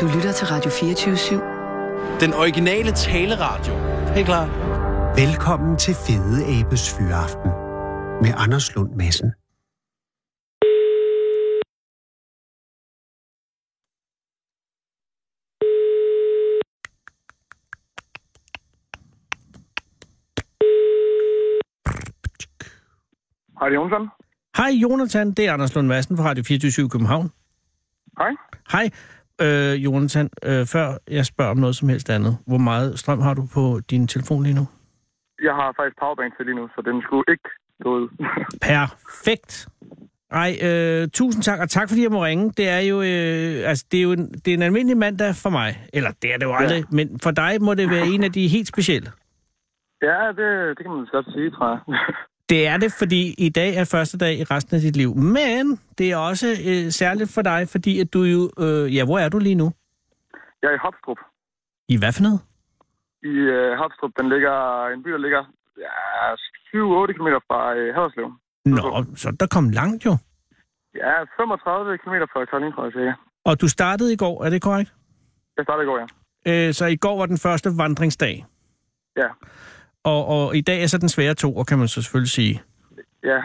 Du lytter til Radio 24 Den originale taleradio. Helt klar. Velkommen til Fede Abes Fyraften med Anders Lund Madsen. Hej, det er Jonsson. Hej Jonathan, det er Anders Lund Madsen fra Radio 24 København. Hej. Hej øh, Jonathan, øh, før jeg spørger om noget som helst andet, hvor meget strøm har du på din telefon lige nu? Jeg har faktisk powerbank til lige nu, så den skulle ikke gå ud. Perfekt. Ej, øh, tusind tak, og tak fordi jeg må ringe. Det er jo, øh, altså, det er jo en, det er en almindelig mandag for mig. Eller det er det jo aldrig, ja. men for dig må det være en af de helt specielle. ja, det, det kan man godt sige, tror jeg. Det er det, fordi i dag er første dag i resten af dit liv. Men det er også øh, særligt for dig, fordi at du jo... Øh, ja, hvor er du lige nu? jeg er i Hopstrup. I hvad for noget? I øh, Hopstrup, den ligger en by, der ligger ja, 7-8 km fra øh, Haderslev. Nå, så er der kom langt jo. Ja, 35 km fra Kolding, tror jeg, cirka. Og du startede i går, er det korrekt? Jeg startede i går, ja. Øh, så i går var den første vandringsdag. Ja, Og, og i dag er så den svære to, kan man så selvfølgelig sige. ja.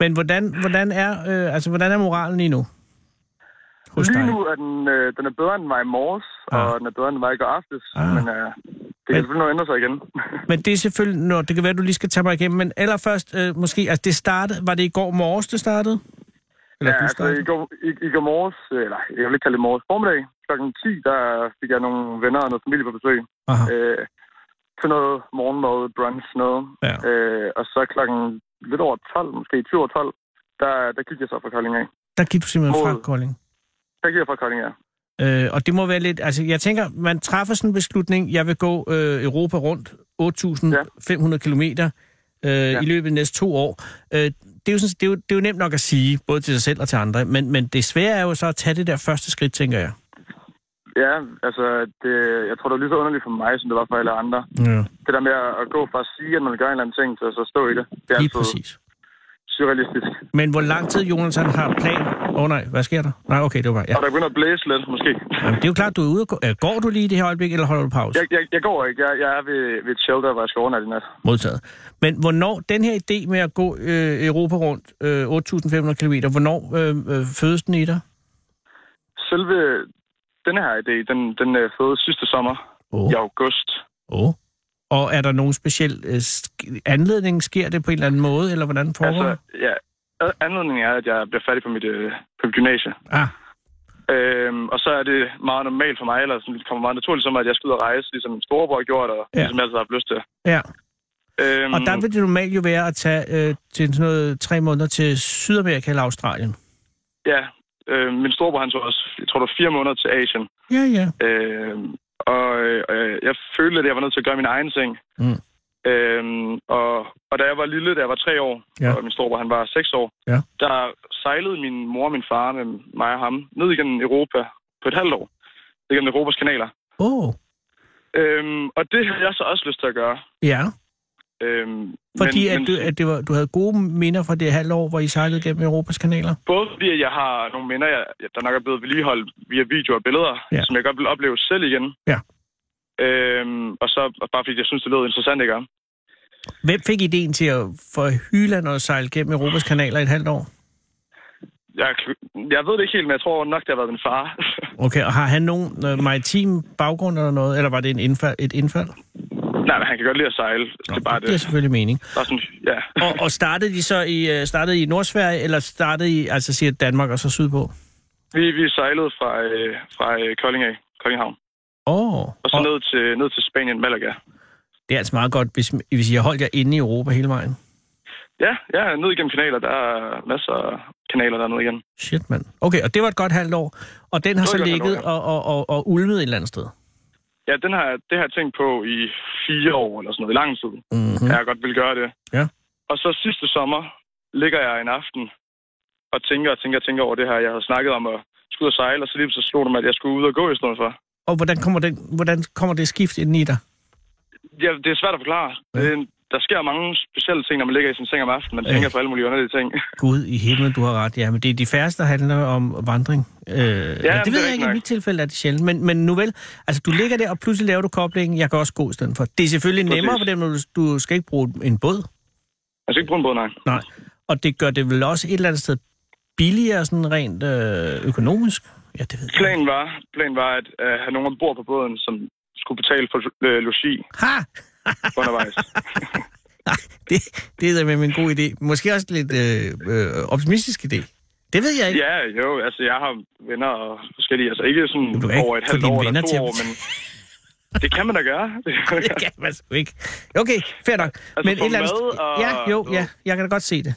Men hvordan, hvordan, er, øh, altså, hvordan er moralen lige nu? Hos lige dig? nu er den, øh, den er bedre end den var i morges, Ah. og den er bedre end den var i går aftes. Ah. Men øh, det Men- kan selvfølgelig nå at ændre sig igen. Men det er selvfølgelig... Nå, det kan være, du lige skal tage mig igennem. Men allerførst, øh, måske... Altså, det startede... Var det i går morges, det startede? Eller ja, du altså startede? i går, i, i går morges, øh, eller jeg vil ikke kalde det morges, formiddag, kl. 10, der fik jeg nogle venner og noget familie på besøg. Aha. øh, til noget morgenmad, brunch, noget. Ja. Øh, og så klokken lidt over 12, måske 20 over 12, der, der gik jeg så fra Kolding af. Der gik du simpelthen fra mod- Kolding. Der gik jeg fra Kolding af. Øh, og det må være lidt... Altså, jeg tænker, man træffer sådan en beslutning, jeg vil gå øh, Europa rundt 8.500 kilometer øh, i løbet af de næste to år. Øh, det, er jo sådan, det, er jo, det er jo nemt nok at sige, både til sig selv og til andre, men, men det svære er jo så at tage det der første skridt, tænker jeg. Ja, altså, det, jeg tror, det var lige så underligt for mig, som det var for alle andre. Ja, Det der med at at gå fra at sige, at man gør en eller anden ting, til at så stå i det. Det er lige altid præcis. surrealistisk. Men hvor lang tid, Jonathan, har plan... Åh oh, nej, hvad sker der? Nej, okay, det var bare... Ja. Og der begynder at blæse lidt, måske. Jamen, det er jo klart, du er ude og gå... øh, Går du lige i det her øjeblik, eller holder du pause? Jeg, jeg, jeg går ikke. Jeg, jeg er ved, ved et shelter, hvor jeg skal overnatte i nat. Modtaget. Men hvornår, den her idé med at gå øh, Europa rundt øh, 8.500 km, hvornår øh, øh, fødes den i dig? Selve denne her idé, den, den øh, fødes sidste sommer Åh. i august. Oh. Og er der nogen speciel øh, sk- anledning? Sker det på en eller anden måde, eller hvordan foregår Altså, altså... ja. ad- Anledningen er, at jeg bliver færdig på mit, øh, på mit gymnasie. Ah, Øhm, og så er det meget normalt for mig, eller sådan, det kommer meget naturligt som, at jeg skal ud og rejse, ligesom min storebror har gjort, og Ja. ja. ligesom jeg altid har haft lyst til. ja. Øhm, Og der vil det normalt jo være at tage øh, til sådan noget tre måneder til Sydamerika eller Australien. Ja, øh, min storebror, han tog også, jeg tror det var fire måneder til Asien. Ja, ja. Øhm, og øh, jeg følte, at jeg var nødt til at gøre min egen ting. Mm. Øhm, og, og da jeg var lille, da jeg var tre år, Ja. ja. og min storebror, han var seks år, Ja. der sejlede min mor og min far med mig og ham ned igennem Europa på et halvt år. Igennem Europas kanaler. Åh, oh. Øhm, og det havde jeg så også lyst til at gøre. ja. Øhm, Fordi men, men, at, du, men, at det var, du havde gode minder fra det halvår, hvor I sejlede gennem Europas kanaler. Både fordi at jeg har nogle minder, jeg, der nok er blevet vedligeholdt via videoer og billeder, Ja. ja. som jeg godt vil opleve selv igen. Ja. Øhm, og så og bare fordi jeg synes, det lød interessant, ikke? Hvem fik ideen til at få Hyland og sejle gennem Europas kanaler i et halvt år? Jeg, jeg ved det ikke helt, men jeg tror nok, det har været min far. Okay, og har han nogen øh, maritim baggrund eller noget, eller var det en indfald, et indfald? Nej, men han kan godt lide at sejle. Nå, det er bare det det. giver selvfølgelig mening. Bare sådan, ja. Og, og startede de så i, øh, startede i Nordsverige, eller startede i, altså siger Danmark og så sydpå? Vi, vi sejlede fra, øh, fra øh, Kolding af, Koldinghavn. Åh, oh, Og så ned til, ned til Spanien, Malaga. det er altså meget godt, hvis, hvis jeg holdt jer inde i Europa hele vejen. Ja, ja, ned igennem kanaler. Der er masser af kanaler dernede igen. Shit, mand. Okay, og det var et godt halvt år, og den har Det så var et godt ligget halvt år, og, og, og, og ulmet et eller andet sted. Ja, den har, det har jeg tænkt på i fire år eller sådan noget, i lang tid. Mm-hmm. at Ja. jeg godt vil gøre det. Ja. Og så sidste sommer ligger jeg en aften og tænker og tænker og tænker over det her, jeg havde snakket om at skulle ud og sejle, og så lige så slog det mig, at jeg skulle ud og gå i stedet for. Og hvordan kommer, den, hvordan kommer det skift ind i dig? Ja, det er svært at forklare. Ja. Ja. Det, er en- der sker mange specielle ting, når man ligger i sin seng om aftenen. Man Øh. tænker på alle mulige underlige ting. Gud i himlen, du har ret. Ja, men det er de færreste, der handler om vandring. Øh, ja, det er ved jeg rigtig ikke. I nok. mit tilfælde er det sjældent. Men, men nu vel, altså du ligger der, og pludselig laver du koblingen. Jeg kan også gå i stedet for. Det er selvfølgelig Præcis. nemmere for dem, når du, du skal ikke bruge en båd. Man skal Altså, ikke bruge en båd, nej. Nej. Og det gør det vel også et eller andet sted billigere sådan rent øh, økonomisk? Ja, det ved jeg. ikke. Planen var, planen var at øh, have nogen ombord på båden, som skulle betale for øh, logi Ha! undervejs. Nej, det, det er med en god idé. Måske også lidt øh, øh, optimistisk idé. Det ved jeg ikke. ja, jo, altså jeg har venner og forskellige, altså ikke sådan Du kan ikke over et få halvt dine år eller venner to til at år, men det kan man da gøre. Det kan man sgu ikke. Okay, fair nok. Altså, få mad og- Ja, jo, ja, jeg kan da godt se det.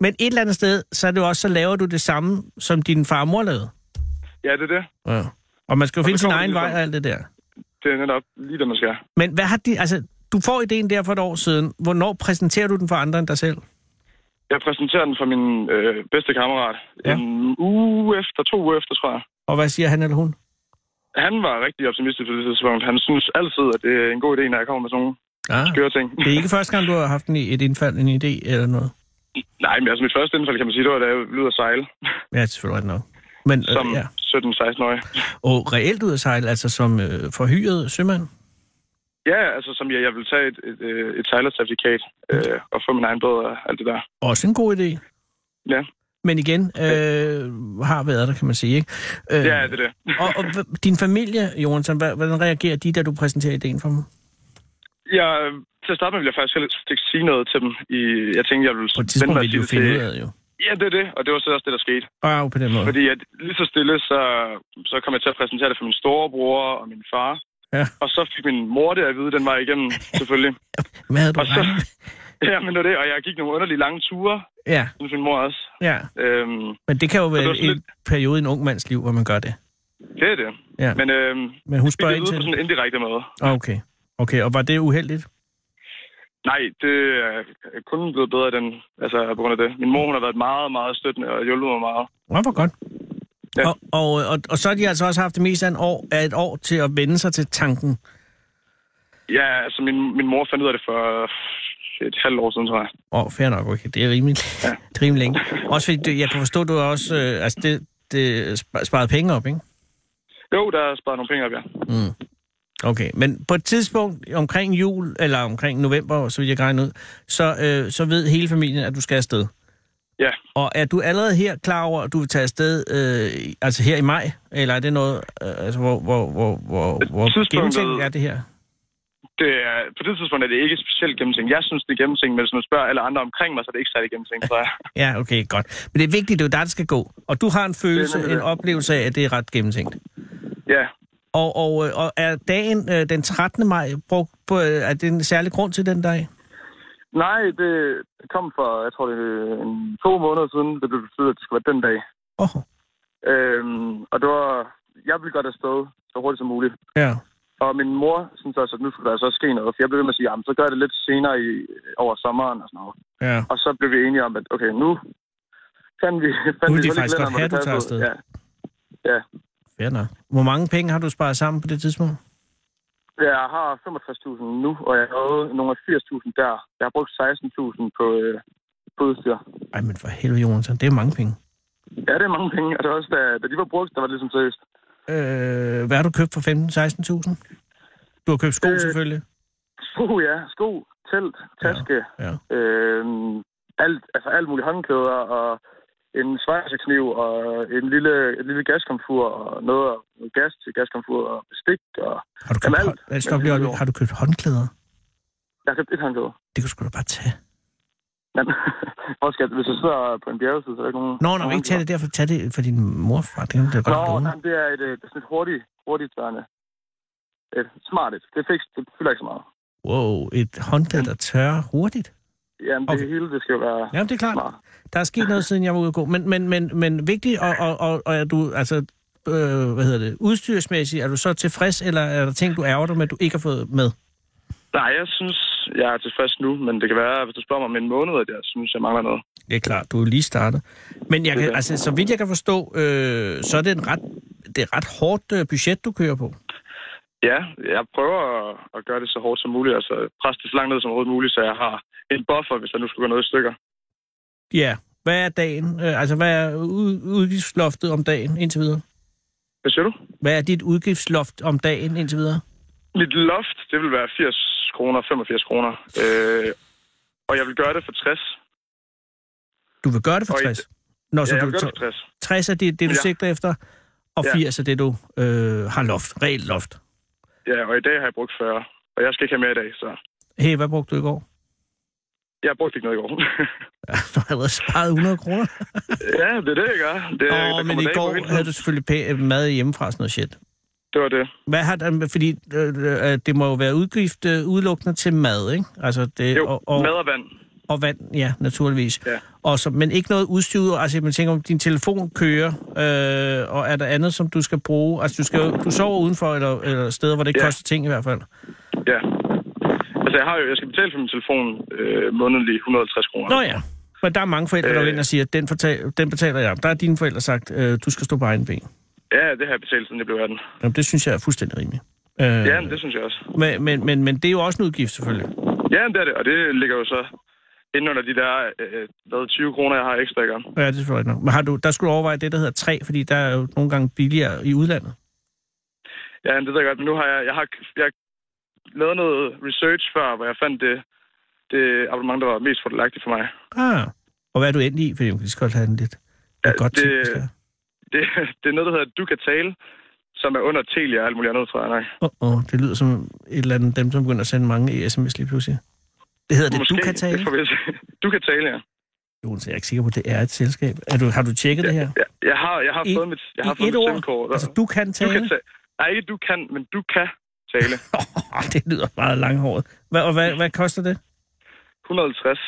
Men et eller andet sted, så er det jo også, så laver du det samme, som din far og mor lavede. ja, det er det. Ja. Og man skal jo finde så sin kommer egen det vej ligesom- og alt det der. Det er netop lige det, man skal. Men hvad har de, altså, du får ideen der for et år siden. Hvornår præsenterer du den for andre end dig selv? Jeg præsenterer den for min øh, bedste kammerat Ja. ja. en uge efter, to uger efter, tror jeg. Og hvad siger han eller hun? Han var rigtig optimistisk på det tidspunkt. Han synes altid, at det er en god idé, når jeg kommer med sådan nogle Ja. skøre ting. Det er ikke første gang, du har haft en, et indfald, en idé eller noget. Nej, men altså mit første indfald, kan man sige, det var, da jeg blev ude at sejle Ja, det er selvfølgelig rigtigt nok. Men som øh, ja. 17-16-årig. og reelt ud at sejle, altså som øh, forhyret sømand? Ja, altså som jeg, jeg ville tage et, et, øh, et sejlercertifikat øh, og få min egen båd og alt det der. Også en god idé. Ja, Men igen, øh, har været der, kan man sige, ikke? Øh, ja det er det. og, og h- din familie, Jonathan, hva- hvordan reagerer de, da du præsenterer ideen for dem? Jeg, til at starte med ville jeg faktisk helst ikke sige noget til dem. I, jeg tænkte, jeg ville På et tidspunkt vente med at vil de jo sige det finde ud til- af det, jo. Ja, det er det, og det var så også det, der skete. Og jo, på den måde. Fordi at lige så stille, så, så kom jeg til at præsentere det for min storebror og min far. Ja. Og så fik min mor det at vide, den var igennem, selvfølgelig. Hvad havde du og så- regnet? ja, men det var det, og jeg gik nogle underlige lange ture, Ja, synes min mor også. ja. Øhm, Men det kan jo det være var sådan en periode i en ung mands liv, hvor man gør det. det er det. Ja. Men, øhm, Men hun det spørger er ind ud på til... sådan en indirekte måde. Ah, Okay. Okay, og var det uheldigt? Nej, det er kun blevet bedre den, altså, på grund af det. Min mor, hun har været meget, meget støttende og hjulpet mig meget. Ja, hvor godt. Ja. Og, og, og, og så har de altså også haft det mest af, en år, af et år til at vende sig til tanken. Ja, altså, min, min mor fandt ud af det for et halvt år siden, tror jeg. Åh, oh, fair nok, okay. Det er rimelig, ja. rimelig længe. Også fordi, det, jeg kan forstå, du har også... Øh, altså, det, det sp- sparede penge op, ikke? Jo, der er sparet nogle penge op, ja. Okay, men på et tidspunkt omkring jul, eller omkring november, så vil jeg regne ud, så, øh, så ved hele familien, at du skal afsted. Ja, Og er du allerede her klar over, at du vil tage afsted, øh, altså her i maj? Eller er det noget, øh, altså hvor, hvor, hvor, hvor, hvor Tidspunktet- gennemtænkt er det her? det er, på det tidspunkt er det ikke specielt gennemtænkt. Jeg synes, det er gennemtænkt, men hvis man spørger alle andre omkring mig, så er det ikke særlig gennemtænkt, tror jeg. Ja, okay, godt. Men det er vigtigt, det er jo dig, der skal gå. Og du har en følelse, Det er en nemlig det. oplevelse af, at det er ret gennemtænkt. Ja, Og, og, øh, og er dagen øh, den 13. maj brugt på, øh, er det en særlig grund til den dag? nej, det kom for, jeg tror, det er øh, en, to måneder siden, det blev besluttet, at det skulle være den dag. Åh, oh, Øhm, og det var, jeg ville godt afsted så hurtigt som muligt. ja. Og min mor synes også, at nu skulle der så ske noget, for jeg blev ved med at sige, jamen, så gør jeg det lidt senere i, over sommeren og sådan noget. Ja. Og så blev vi enige om, at okay, nu kan vi... fandt Nu vil vi de hul i faktisk godt kalenderen, hvor have, det du tager passede. afsted. Ja. Fair nok. Hvor mange penge har du sparet sammen på det tidspunkt? Jeg har 65.000 nu, og jeg har owet nogle af 80.000 der. Jeg har brugt 16.000 på, øh, på udstyr. Ej, men for helvede, Jonathan, det er mange penge. Ja, det er mange penge, og det var også, da, da de var brugt, der var det ligesom seriøst. Øh, hvad har du købt for 15-16.000? Du har købt sko, øh, Øh, selvfølgelig. Sko, ja. Sko, telt, taske, Ja. øh, alt, altså alt muligt håndklæder og en svejsekniv og en lille, et lille gaskomfur og noget, af- noget gas til gaskomfur og bestik. Og Har du købt, Jamen, hånd, alt. Ej, stop Men lige, det er øjeblik. har du købt håndklæder? jeg har købt et håndklæde. Det kunne du sgu da bare tage. Men, hvor skal, hvis jeg sidder på en bjergeside, så er der ikke nogen... Nå, nej, nogen ikke tage det derfor. Tag det for din morfar. Det kan du da Nå, godt låne. jamen, det er et, øh, det er sådan et hurtigt, hurtigt tørrende. Et smart et. Det er fikst. Det fylder ikke så meget. Wow, et håndklæde, der tørrer hurtigt. Jamen, det Okay. hele, det skal jo være Jamen, det er klart. smart. Der er sket noget, siden jeg var ude at gå. Men, men, men, men vigtigt, og, og, og, og er du, altså, øh, hvad hedder det, udstyrsmæssigt, er du så tilfreds, eller er der ting, du ærger dig med, du ikke har fået med? Nej, jeg synes, jeg er tilfreds nu, men det kan være, hvis du spørger mig om en måned, at jeg synes, jeg mangler noget. Det er klart, du er lige startet. Men jeg Det kan, er altså, så vidt jeg kan forstå, øh, så er det, en ret, det er ret hårdt øh, budget, du kører på. Ja, jeg prøver at, at gøre det så hårdt som muligt, altså presse det så langt ned som overhovedet muligt, så jeg har en buffer, hvis der nu skulle gå noget i stykker. Ja. Hvad er dagen? Øh, altså, hvad er ud, udgiftsloftet om dagen indtil videre? Hvad siger du? Hvad er dit udgiftsloft om dagen indtil videre? Mit loft, det vil være 80 kroner, 85 kroner. Øh, og jeg vil gøre det for 60. Du vil gøre det for Og i- 60? Nå, ja, så jeg du, vil gøre så det for 60. 60 er det, det du Ja. sigter efter, og Ja. 80 er det, du øh, har loft, reelt loft. Ja, og i dag har jeg brugt 40, og jeg skal ikke have mere i dag, så Hey, hvad brugte du i går? jeg har brugt ikke noget i går. Du havde allerede sparet 100 kroner. ja, det er det, jeg gør. Det, der Åh, kommer men i dage på hele går tiden. havde du selvfølgelig pæ- øh, mad hjemmefra, sådan noget shit. Det var det. Hvad har der, fordi øh, øh, det må jo være udgift øh, udelukkende til mad, ikke? Altså det, Jo, og, og, mad og vand. og vand, ja, naturligvis. Ja. Og så, men ikke noget udstyr, ud- altså man tænker, om din telefon kører, øh, og er der andet, som du skal bruge? Altså du, skal, jo- du sover udenfor, eller, eller steder, hvor det ikke Ja. koster ting i hvert fald. Ja. Altså, jeg har jo, jeg skal betale for min telefon øh, månedlig 150 kroner. Nå ja, men der er mange forældre, der Øh. går ind og siger, at den, fortal, den betaler jeg. Der er dine forældre sagt, øh, du skal stå på egen ben. Ja, det har jeg betalt, siden jeg blev 18. Jamen, det synes jeg er fuldstændig rimeligt. Øh, Ja, men det synes jeg også. men, men, men, men det er jo også en udgift, selvfølgelig. Ja, men det er det, og det ligger jo så inden under de der øh, hvad, 20 kroner, jeg har ekstra i gang. Ja, det er selvfølgelig nok. Men har du, der skulle du overveje det, der hedder 3, fordi der er jo nogle gange billigere i udlandet. Ja, men det ved jeg godt, men nu har jeg, jeg har, jeg har lavet noget research før, hvor jeg fandt det, det abonnement, der var mest fordelagtigt for mig. Ah, og hvad er du endt i? Fordi vi kan lige så godt have den lidt ja, Ja, godt det... det- ting, hvis det er. Det, det er noget, der hedder Du kan tale, som er under Telia og alt muligt andet, tror jeg nok. Åh, oh, oh, det lyder som et eller andet dem, som begynder at sende mange E e-sms lige pludselig. Det hedder det, Altså, du kan tale. det får vi at se. Du kan tale, ja. Jonas, jeg er ikke sikker på, at det er et selskab. Er du, har du tjekket det her? Jeg, jeg har, jeg har I- fået mit, jeg har I fået et mit ord? SIM-kort. og- Altså, du kan du tale? kan tale. Nej, ikke du kan, men du kan tale. Oh, det lyder meget langhåret. Hvad, og hvad, hvad koster det? 150.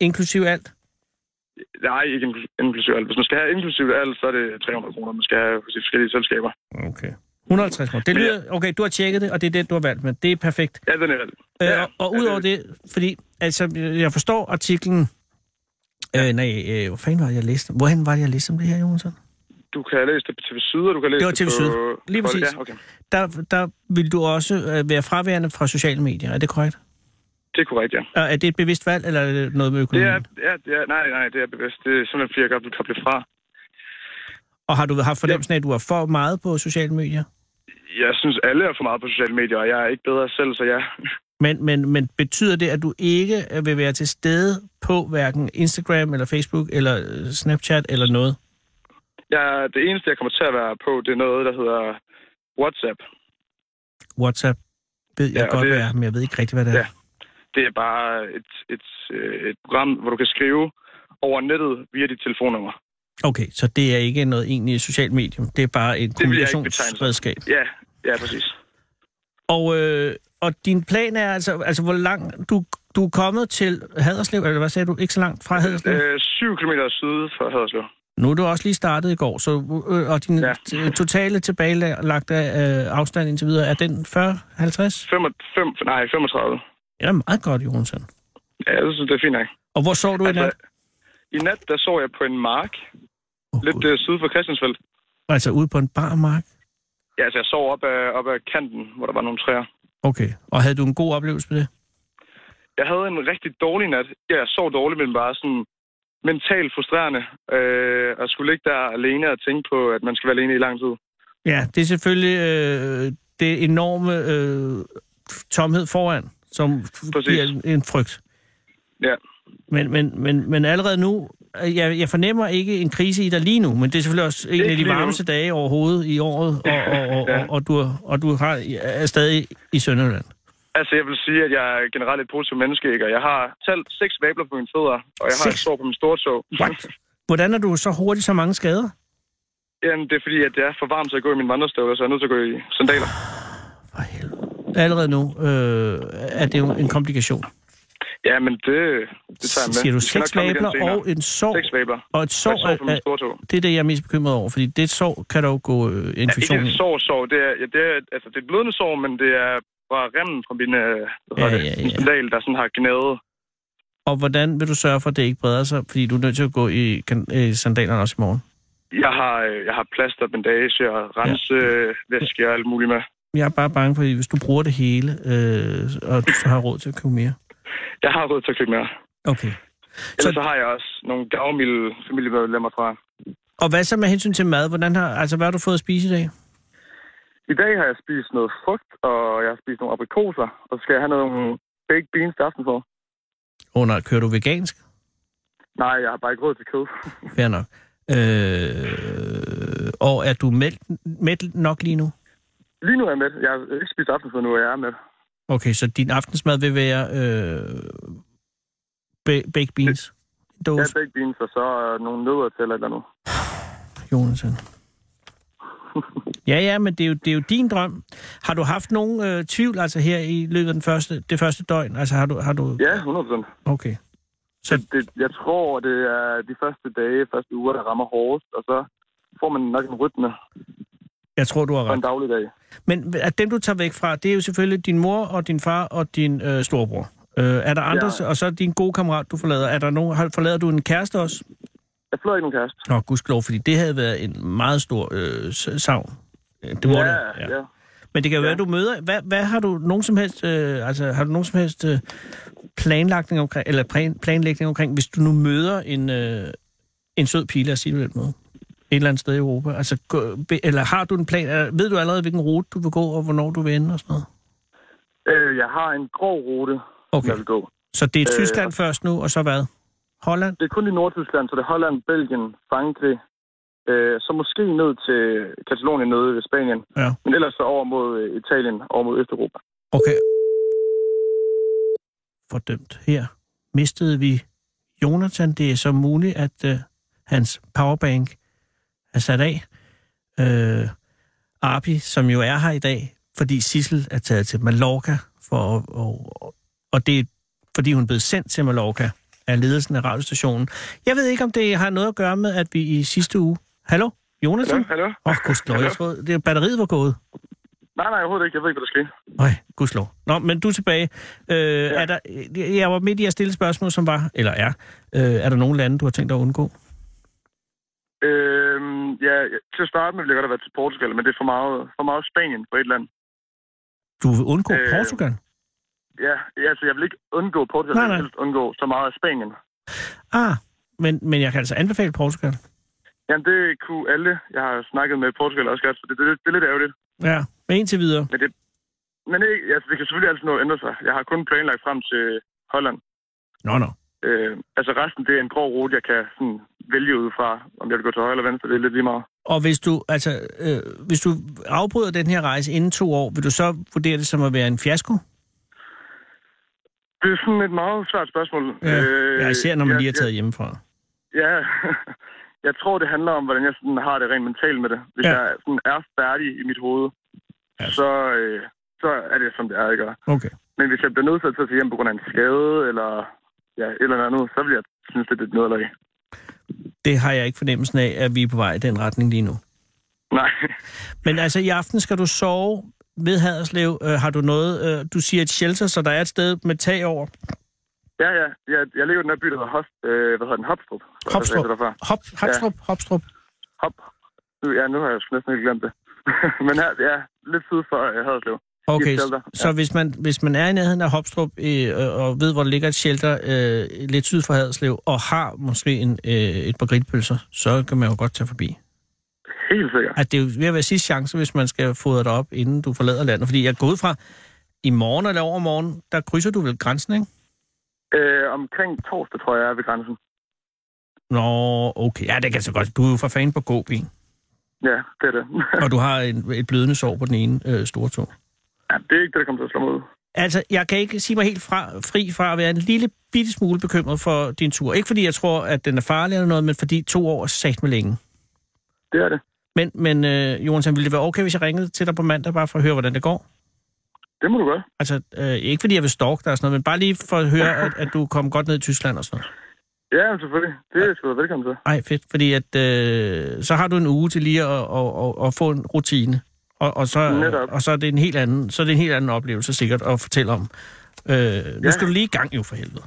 Inklusiv alt? Nej, ikke inkl- inklusiv alt. Hvis man skal have inklusivt alt, så er det 300 kroner, man skal have hos de forskellige selskaber. Okay. 150 kroner. Det Men lyder, okay, du har tjekket det, og det er det, du har valgt, men det er perfekt. Ja, den er valgt. Ja, Ja, øh, og ja, udover det- det, fordi altså, jeg forstår artiklen... Øh, nej, øh, hvor fanden var det, jeg læste? Hvorhen var det, jeg læste om det her, Jonsson? Du kan læse det på TV Syd, og du kan læse Det var det, TV på... Syd. Lige på- præcis. Ja, okay. Der, der vil du også øh, være fraværende fra sociale medier, er det korrekt? Det er korrekt, ja. Og er det et bevidst valg, eller er det noget med Det økonomi? er, ja, det er, nej, nej, det er bevidst. Det er simpelthen, fordi jeg godt vil koble fra. Og har du haft fornemmelsen af, at du er for meget på sociale medier? Jeg synes, alle er for meget på sociale medier, og jeg er ikke bedre selv, så ja. Men, men, men betyder det, at du ikke øh, vil være til stede på hverken Instagram eller Facebook eller øh, Snapchat eller noget? Jeg, det eneste, jeg kommer til at være på, det er noget, der hedder WhatsApp. WhatsApp ved jeg Ja, og godt, det- hvad er, men jeg ved ikke rigtig, hvad det er. Ja. Det er bare et, et, øh, et program, hvor du kan skrive over nettet via dit telefonnummer. Okay, så det er ikke noget egentligt socialt medium. Det er bare et vil jeg ikke betegne det som. kommunikationsredskab. Ja, ja, præcis. Og, øh, og din plan er altså, altså hvor langt du, du er kommet til Haderslev, eller hvad sagde du? Ikke så langt fra Haderslev? Øh, 7 km syd for Haderslev. Nu er du også lige startet i går, så, øh, og din Ja. ja. totale tilbagelagte øh, afstand indtil videre, er den 40-50? 5, 5, nej, 35. Det er meget godt, Jonsen. Ja, jeg synes, det er fint nok. Og hvor sov du altså, i nat? I nat, der sov jeg på en mark, Oh, lidt øh, syd for Christiansfeldt. Altså ude på en barmark? Ja, altså, jeg sov op ad, op ad kanten, hvor der var nogle træer. Okay. Og havde du en god oplevelse med det? Jeg havde en rigtig dårlig nat. Ja, jeg sov dårligt, men bare sådan mentalt frustrerende. Øh, og skulle ligge der alene og tænke på, at man skal være alene i lang tid. Ja, det er selvfølgelig øh, det enorme øh, tomhed foran, som Præcis. bliver en- en frygt. Ja. Men, men, men, men allerede nu, øh, jeg, jeg fornemmer ikke en krise i dig lige nu, men det er selvfølgelig også en Ikke af de lige nu. varmeste dage overhovedet i året, og, og, og, og, og, du, er- og du har, er stadig i Sønderjylland. Altså, jeg vil sige, at jeg er generelt et positivt menneske, ikke? Og jeg har talt seks vabler på mine fødder, og jeg har Seks? et sår på min store tog. What? Hvordan er du så hurtigt så mange skader? Jamen, det er fordi, at det er for varmt til at gå i min vandrestøvler, så jeg er nødt til at gå i sandaler. For helvede. Allerede nu øh, er det jo en komplikation. Ja, men det, det tager jeg med. Siger du Vi skal nok seks komme igen vabler senere. og en sår? Seks vabler. Og et Så, og et sår sår på er, min store tog. Det er det, jeg er mest bekymret over, fordi det sår kan dog gå øh, Ja, ikke infektion et i. sår, sår. Det er, ja, det er, altså, det er et blødende sår, men det er fra remmen fra min, øh, Ja, ja, det, ja, ja, ja. min sandal, der sådan har gnædet. Og hvordan vil du sørge for, at det ikke breder sig? Fordi du er nødt til at gå i kan- øh, sandalerne også i morgen. Jeg har, øh, jeg har plaster, bandage og rense, ja. væske og alt muligt med. Jeg er bare bange for, at hvis du bruger det hele, øh, og du så har råd til at købe mere. Jeg har råd til at købe mere. Okay. Ellers så, så har jeg også nogle gavmilde familiemedlemmer fra. Og hvad så med hensyn til mad? Hvordan har, altså, hvad har du fået at spise i dag? I dag har jeg spist noget frugt, og jeg har spist nogle aprikoser, og så skal jeg have nogle baked beans til aften for. Åh oh, nej, kører du vegansk? Nej, jeg har bare ikke råd til kød. Fair nok. Øh, og er du mæt, mæt nok lige nu? Lige nu er jeg med. Jeg har ikke spist aftensmad nu, og jeg er med. Okay, så din aftensmad vil være øh, ba- baked beans? Jeg Dåse, har baked beans, og så øh, nogle nødder til eller et eller andet. Jonathan. Ja, ja, men det er, jo, det er jo din drøm. Har du haft nogen øh, tvivl altså her i løbet af den første, det første døgn? Altså har du... Har du Ja, 100 Okay. det, det, jeg tror, det er de første dage, første uger, der rammer hårdest, og så får man nok en rytme Jeg tror, du har på en ret. dagligdag. Men at dem, du tager væk fra, det er jo selvfølgelig din mor og din far og din øh, storebror. Øh, er der andre, ja. Ja. og så din gode kammerat, du forlader. Er der nogen, har- forlader du en kæreste også? Jeg fløj ikke nogen kæreste. Nå, gudskelov, fordi det havde været en meget stor øh, s- savn. Øh, Det må det. ja. ja. Men det kan jo ja. være, du møder... Hvad, hvad har du nogen som helst... Øh, altså, har du nogen som helst øh, planlægning omkring, eller plan, planlægning omkring, hvis du nu møder en, øh, en sød pige, lad os sige det på den måde, et eller andet sted i Europa? Altså, gå, be- eller har du en plan? Eller, ved du allerede, hvilken rute du vil gå, og hvornår du vil ende og sådan noget? Øh, jeg har en grov rute, okay. jeg Okay, vil gå. så det er Øh, Tyskland øh, først nu, og så hvad? Holland? Det er kun i Nordtyskland, så det er Holland, Belgien, Frankrig, øh, så måske ned til Katalonien, nede ved Spanien, Ja. men ellers så over mod øh, Italien, over mod Østeuropa. Okay. Fordømt. Her mistede vi Jonathan. Det er så muligt, at øh, hans powerbank er sat af. Øh, Arbi, som jo er her i dag, fordi Sissel er taget til Mallorca, for, at- og, og, og det er fordi hun er blevet sendt til Mallorca af ledelsen af radiostationen. Jeg ved ikke, om det har noget at gøre med, at vi i sidste uge... Hallo? Jonathan? Hallo? Åh, Hallo? oh, gudskelov, jeg troede, det batteriet var gået. Nej, nej, overhovedet ikke. Jeg ved ikke, hvad der skete. Nej, gudslov. Nå, men du er tilbage. Øh, ja. er der, øh, jeg var midt i at stille spørgsmål, som var, eller er, øh, er der nogle lande, du har tænkt dig at undgå? Øh, ja, til at starte med ville jeg godt have været til Portugal, men det er for meget, for meget Spanien på et land. Du vil undgå øh, Øh, Portugal? Ja, ja, altså jeg vil ikke undgå Portugal, Nej, jeg nej. vil helst undgå så meget af Spanien. Ah, men, men jeg kan altså anbefale Portugal. Jamen det kunne alle, jeg har snakket med i Portugal også godt, så det, det, det er lidt ærgerligt. Ja, men indtil videre. Men det, men ikke, altså, det kan selvfølgelig altid nå at ændre sig. Jeg har kun planlagt frem til Holland. Nå, nå. Øh, altså resten, det er en grå rute, jeg kan sådan, vælge ud fra, om jeg vil gå til højre eller venstre, det er lidt lige meget. Og hvis du, altså, øh, hvis du afbryder den her rejse inden to år, vil du så vurdere det som at være en fiasko? Det er sådan et meget svært spørgsmål. Øh, Øh, ja, især når man jeg- lige er taget hjemmefra. Ja, jeg tror, det handler om, hvordan jeg sådan har det rent mentalt med det. Hvis Ja. ja. jeg sådan er færdig i mit hoved, Ja. ja. så, øh, så er det, som det er, ikke? Okay. Men hvis jeg bliver nødt til at tage hjem på grund af en skade, eller ja, et eller andet, så vil jeg synes, det er lidt nederlag. Det har jeg ikke fornemmelsen af, at vi er på vej i den retning lige nu. Nej. Men altså, i aften skal du sove ved Haderslev. Øh, har du noget... Øh, du siger et shelter, så der er et sted med tag over. Ja, ja. Jeg, jeg ligger i den her by, der hedder, Host, øh, hvad hedder den? Hopstrup. tror jeg, Hopstrup. der hedder derfra. Hop, Hopstrup, ja. Hopstrup. Hop. Nu- Ja, nu har jeg sgu næsten ikke glemt det. Men her, ja, lidt syd for øh, Haderslev. Okay, shelter, så, så hvis, man, hvis man er i nærheden af Hopstrup øh, og- og ved, hvor der ligger et shelter øh, lidt syd for Haderslev, og har måske en, øh, et par grillpølser, så kan man jo godt tage forbi. Helt sikkert. Altså, det er jo ved at være sidste chance, hvis man skal fodre dig op, inden du forlader landet. Fordi jeg går ud fra, i morgen eller overmorgen, der krydser du vel grænsen, ikke? Øh, omkring torsdag, tror jeg, jeg er ved grænsen. Nå, okay. Ja, det kan så godt. Du er jo for fanden på gåben. Ja, det er det. og du har en, et blødende sår på den ene øh, store tog. ja, det er ikke det, der kommer til at slå mig ud. Altså, jeg kan ikke sige mig helt fra, fri fra at være en lille bitte smule bekymret for din tur. Ikke fordi jeg tror, at den er farlig eller noget, men fordi to år er sat med længe. Det er det. Men, men øh, Jonathan, ville det være okay, hvis jeg ringede til dig på mandag, bare for at høre, hvordan det går? Det må du gøre. Altså, øh, ikke fordi jeg vil stalke dig og sådan noget, men bare lige for at høre, at, at du kom godt ned i Tyskland og sådan noget. Ja, selvfølgelig. Det er sgu da velkommen til. Ej, fedt. Fordi at, øh, så har du en uge til lige at, at, at, at få en rutine. Og, og, så, Netop. og så, er det en helt anden, så er det en helt anden oplevelse sikkert at fortælle om. Øh, nu Ja. skal du lige i gang jo for helvede.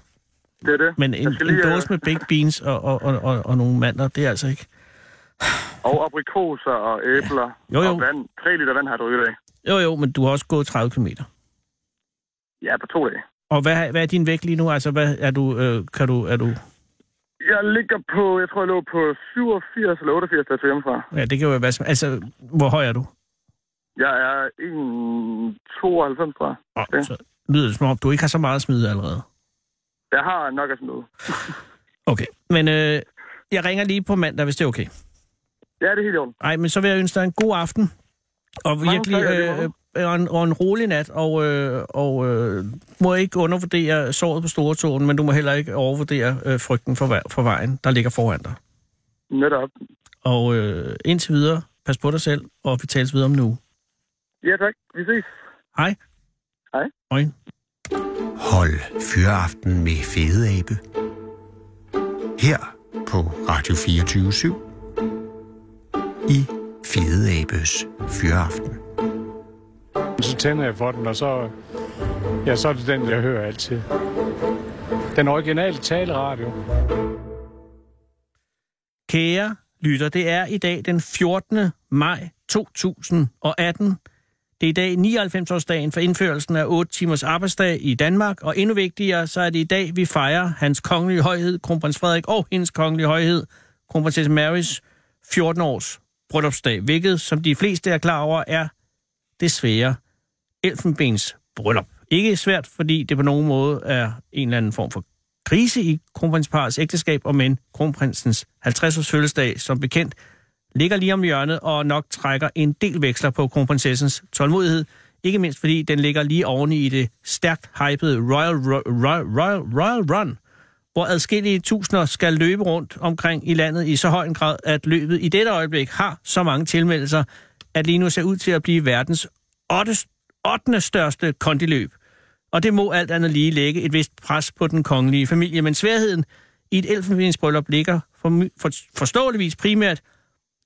Det er det. Men en, Jeg skal en øh, dåse med baked beans og, og, og, og, og nogle mandler, det er altså ikke... Og aprikoser og æbler Jo, jo. og vand. 3 liter vand har jeg drukket i dag. Jo, jo, men du har også gået 30 km. Ja, på to dage. Og hvad, hvad er din vægt lige nu? Altså, hvad er du, øh, kan du, er du... Jeg ligger på, jeg tror, jeg lå på 87 eller 88, da jeg tog hjemmefra. Ja, det kan jo være... hvad som- Altså, hvor høj er du? Jeg er 1,92, tror jeg. Og, Ja. så lyder det som om, du ikke har så meget at smide allerede. Jeg har nok af sådan noget. Okay, men øh, jeg ringer lige på mandag, hvis det er okay. Ja, det er helt i orden. Ej, men så vil jeg ønske dig en god aften. Og Mange virkelig tak, og øh, lige øh, og, en, og en rolig nat, og, øh, og øh, må ikke undervurdere såret på store tåren, men du må heller ikke overvurdere øh, frygten for, vej- for vejen, der ligger foran dig. Netop. Og øh, indtil videre, pas på dig selv, og vi tales videre om nu. Ja, tak. Vi ses. Hej. Hej. Hej. Hold Fyraften med Fede Abe. Her på Radio 24 I Fede Abes Fyraften. Så tænder jeg for den, og så, ja, så er det den, jeg hører altid. Den originale taleradio. Kære lytter, det er i dag den 14. maj 2018. Det er i dag 99-årsdagen for indførelsen af 8 timers arbejdsdag i Danmark, og endnu vigtigere, så er det i dag, vi fejrer hans kongelige højhed, kronprins Frederik og hendes kongelige højhed, kronprinsesse Marys 14-års bryllupsdag, hvilket, som de fleste er klar over, er desværre elfenbens bryllup. Ikke svært, fordi det på nogen måde er en eller anden form for krise i kronprinsparets ægteskab, og men kronprinsens 50-års fødselsdag, som bekendt, ligger lige om hjørnet og nok trækker en del veksler på kronprinsessens tålmodighed. Ikke mindst fordi den ligger lige oven i det stærkt hypede Royal, Royal, Royal, Royal Run, hvor adskillige tusinder skal løbe rundt omkring i landet i så høj en grad, at løbet i dette øjeblik har så mange tilmeldelser, at lige nu ser ud til at blive verdens 8. største kondiløb og det må alt andet lige lægge et vist pres på den kongelige familie. Men sværheden i et elfenbensbryllup ligger for, for, forståeligvis primært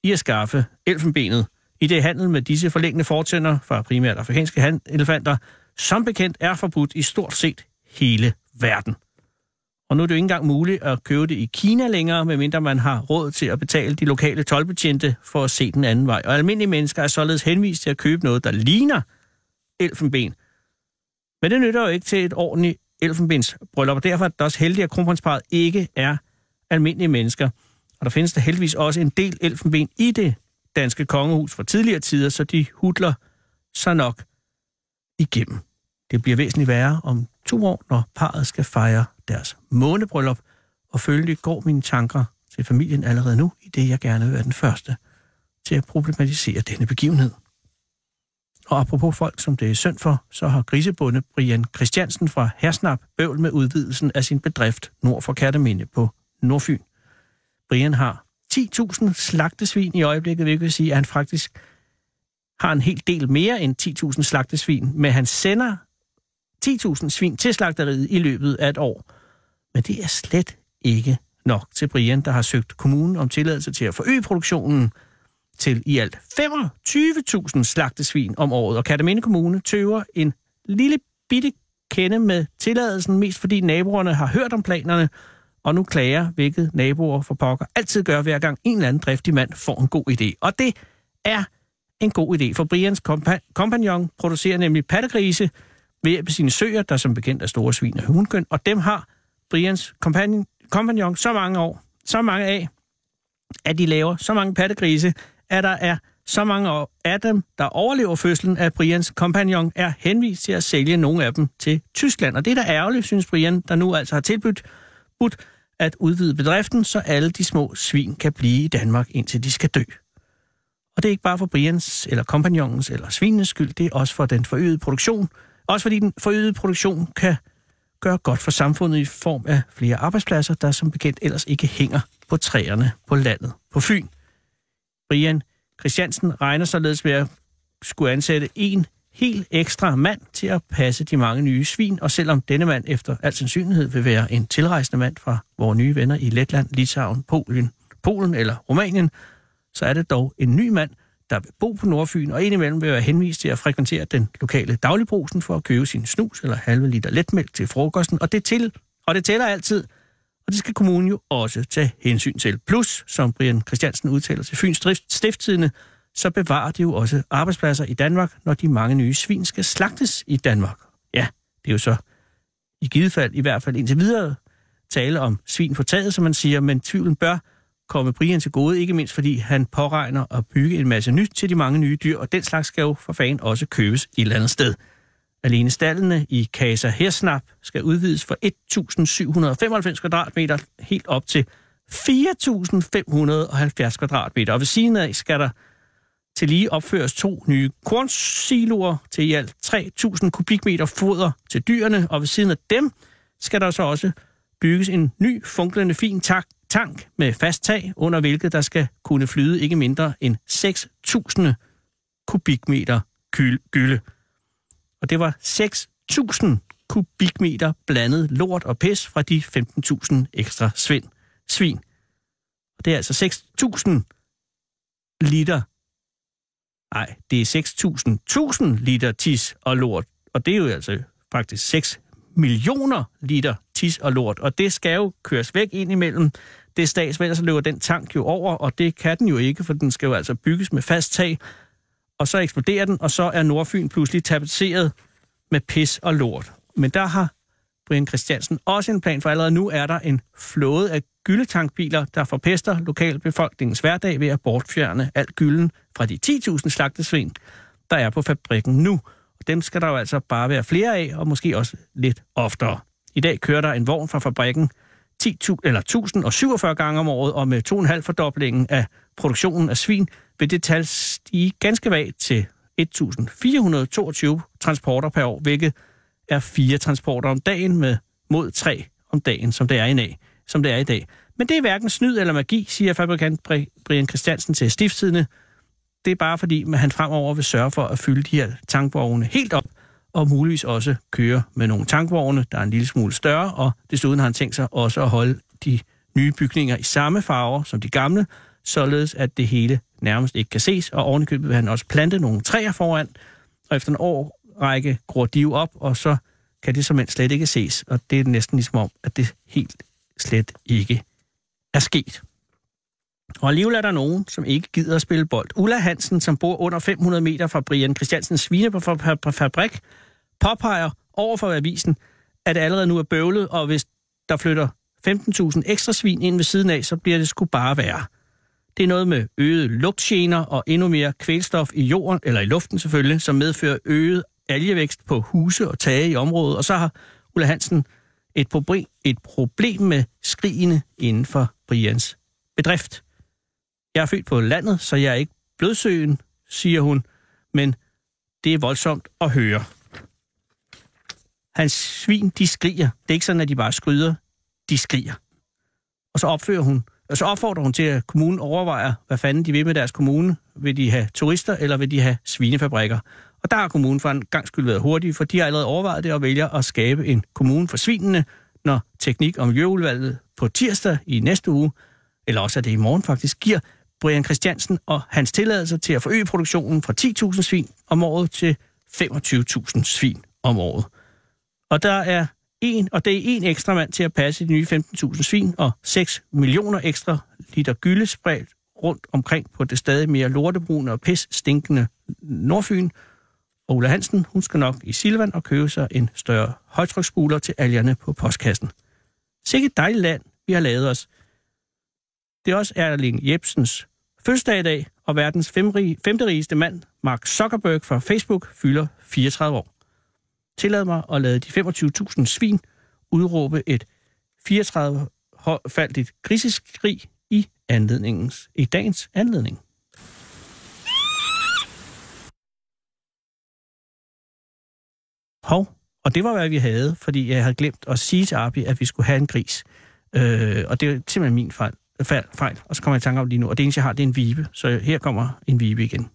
i at skaffe elfenbenet. I det handel med disse forlængende fortænder fra primært afrikanske han- elefanter, som bekendt er forbudt i stort set hele verden. Og nu er det jo ikke engang muligt at købe det i Kina længere, medmindre man har råd til at betale de lokale tolvbetjente for at se den anden vej. Og almindelige mennesker er således henvist til at købe noget, der ligner elfenben, men det nytter jo ikke til et ordentligt elfenbensbryllup, og derfor er det også heldigt, at kronprinsparet ikke er almindelige mennesker. Og der findes der heldigvis også en del elfenben i det danske kongehus fra tidligere tider, så de hudler sig nok igennem. Det bliver væsentligt værre om to år, når parret skal fejre deres månebryllup, og følgelig går mine tanker til familien allerede nu, i det jeg gerne vil være den første til at problematisere denne begivenhed. Og apropos folk, som det er synd for, så har grisebonde Brian Christiansen fra Hersnap bøvl med udvidelsen af sin bedrift nord for Katteminde på Nordfyn. Brian har 10.000 slagtesvin i øjeblikket, hvilket vil sige, at han faktisk har en hel del mere end 10.000 slagtesvin, men han sender 10.000 svin til slagteriet i løbet af et år. Men det er slet ikke nok til Brian, der har søgt kommunen om tilladelse til at forøge produktionen til i alt 25.000 slagtesvin om året, og Kataminde Kommune tøver en lille bitte kende med tilladelsen, mest fordi naboerne har hørt om planerne, og nu klager, hvilket naboer for pokker altid gør, hver gang en eller anden driftig mand får en god idé. Og det er en god idé, for Brians kompa- kompagnon producerer nemlig pattegrise ved hjælp af sine søer, der som bekendt er store svin og hundkøn, og dem har Brians kompagnon, kompagnon så mange år, så mange af, at de laver så mange pattegrise, at der er så mange år- af dem, der overlever fødslen af Brians kompagnon, er henvist til at sælge nogle af dem til Tyskland. Og det er da ærgerligt, synes Brian, der nu altså har tilbudt budt at udvide bedriften, så alle de små svin kan blive i Danmark, indtil de skal dø. Og det er ikke bare for Brians, eller kompagnonens, eller svinenes skyld, det er også for den forøgede produktion. Også fordi den forøgede produktion kan gøre godt for samfundet i form af flere arbejdspladser, der som bekendt ellers ikke hænger på træerne på landet på Fyn. Brian Christiansen regner således med at skulle ansætte en helt ekstra mand til at passe de mange nye svin, og selvom denne mand efter al sandsynlighed vil være en tilrejsende mand fra vores nye venner i Letland, Litauen, Polen, Polen eller Rumænien, så er det dog en ny mand, der vil bo på Nordfyn, og indimellem vil være henvist til at frekventere den lokale dagligbrusen for at købe sin snus eller halve liter letmælk til frokosten, og det, til, og det tæller altid, og det skal kommunen jo også tage hensyn til. Plus, som Brian Christiansen udtaler til Fyns Drift- Stiftstidende, så bevarer det jo også arbejdspladser i Danmark, når de mange nye svin skal slagtes i Danmark. Ja, det er jo så i givet fald, i hvert fald indtil videre, tale om svin på taget, som man siger, men tvivlen bør komme Brian til gode, ikke mindst fordi han påregner at bygge en masse nyt til de mange nye dyr, og den slags skal jo for fanden også købes et eller andet sted. Alene stallene i Casa Hersnap skal udvides fra 1.795 kvadratmeter helt op til 4.570 kvadratmeter. Og ved siden af skal der til lige opføres to nye kornsiloer til i alt 3.000 kubikmeter foder til dyrene, og ved siden af dem skal der så også bygges en ny funklende fin tak tank med fast tag, under hvilket der skal kunne flyde ikke mindre end 6.000 kubikmeter kyl- gylde. Og det var 6.000 kubikmeter blandet lort og pis fra de 15.000 ekstra svind, svin. Og det er altså 6.000 liter. Nej, det er 6.000 liter tis og lort. Og det er jo altså faktisk 6 millioner liter tis og lort. Og det skal jo køres væk ind imellem det statsvælg, ellers løber den tank jo over, og det kan den jo ikke, for den skal jo altså bygges med fast tag, og så eksploderer den, og så er Nordfyn pludselig tapetseret med pis og lort. Men der har Brian Christiansen også en plan, for allerede nu er der en flåde af gyldetankbiler, der forpester lokalbefolkningens hverdag ved at bortfjerne alt gylden fra de 10.000 slagtesvin, der er på fabrikken nu. Og dem skal der jo altså bare være flere af, og måske også lidt oftere. I dag kører der en vogn fra fabrikken 10, eller 1047 gange om året, og med 2,5 fordoblingen af produktionen af svin vil det tal stige ganske vagt til 1422 transporter per år, hvilket er fire transporter om dagen med mod tre om dagen, som det er i dag. Som det er i dag. Men det er hverken snyd eller magi, siger fabrikant Bri- Brian Christiansen til Stiftstidende. Det er bare fordi, at han fremover vil sørge for at fylde de her tankvogne helt op, og muligvis også køre med nogle tankvogne, der er en lille smule større, og desuden har han tænkt sig også at holde de nye bygninger i samme farver som de gamle, således at det hele nærmest ikke kan ses, og ovenikøbet vil han også plante nogle træer foran, og efter en årrække gror de jo op, og så kan det som slet ikke ses, og det er næsten ligesom om, at det helt slet ikke er sket. Og alligevel er der nogen, som ikke gider at spille bold. Ulla Hansen, som bor under 500 meter fra Brian Christiansens svinefabrik, påpeger over for avisen, at det allerede nu er bøvlet, og hvis der flytter 15.000 ekstra svin ind ved siden af, så bliver det sgu bare værre. Det er noget med øget lugtgener og endnu mere kvælstof i jorden, eller i luften selvfølgelig, som medfører øget algevækst på huse og tage i området. Og så har Ulla Hansen et problem, et problem med skrigene inden for Brians bedrift. Jeg er født på landet, så jeg er ikke blødsøen, siger hun, men det er voldsomt at høre. Hans svin, de skriger. Det er ikke sådan, at de bare skryder. De skriger. Og så opfører hun og så opfordrer hun til, at kommunen overvejer, hvad fanden de vil med deres kommune. Vil de have turister, eller vil de have svinefabrikker? Og der har kommunen for en gang skyld været hurtig, for de har allerede overvejet det og vælger at skabe en kommune for svinene, når Teknik- og Miljøudvalget på tirsdag i næste uge, eller også er det i morgen faktisk, giver Brian Christiansen og hans tilladelse til at forøge produktionen fra 10.000 svin om året til 25.000 svin om året. Og der er en, og det er en ekstra mand til at passe de nye 15.000 svin, og 6 millioner ekstra liter gylde spredt rundt omkring på det stadig mere lortebrune og pis stinkende Nordfyn. Og Ulla Hansen, hun skal nok i Silvan og købe sig en større højtryksspuler til algerne på postkassen. Sikke et dejligt land, vi har lavet os. Det er også Erling Jebsens fødselsdag i dag, og verdens femrige, femte rigeste mand, Mark Zuckerberg fra Facebook, fylder 34 år tillade mig at lade de 25.000 svin udråbe et 34-faldigt griseskrig i, anledningens, i dagens anledning. Hov, og det var, hvad vi havde, fordi jeg havde glemt at sige til Arbi, at vi skulle have en gris. Øh, og det er simpelthen min fejl, fejl, fejl. Og så kommer jeg i tanke om lige nu, og det eneste, jeg har, det er en vibe. Så her kommer en vibe igen.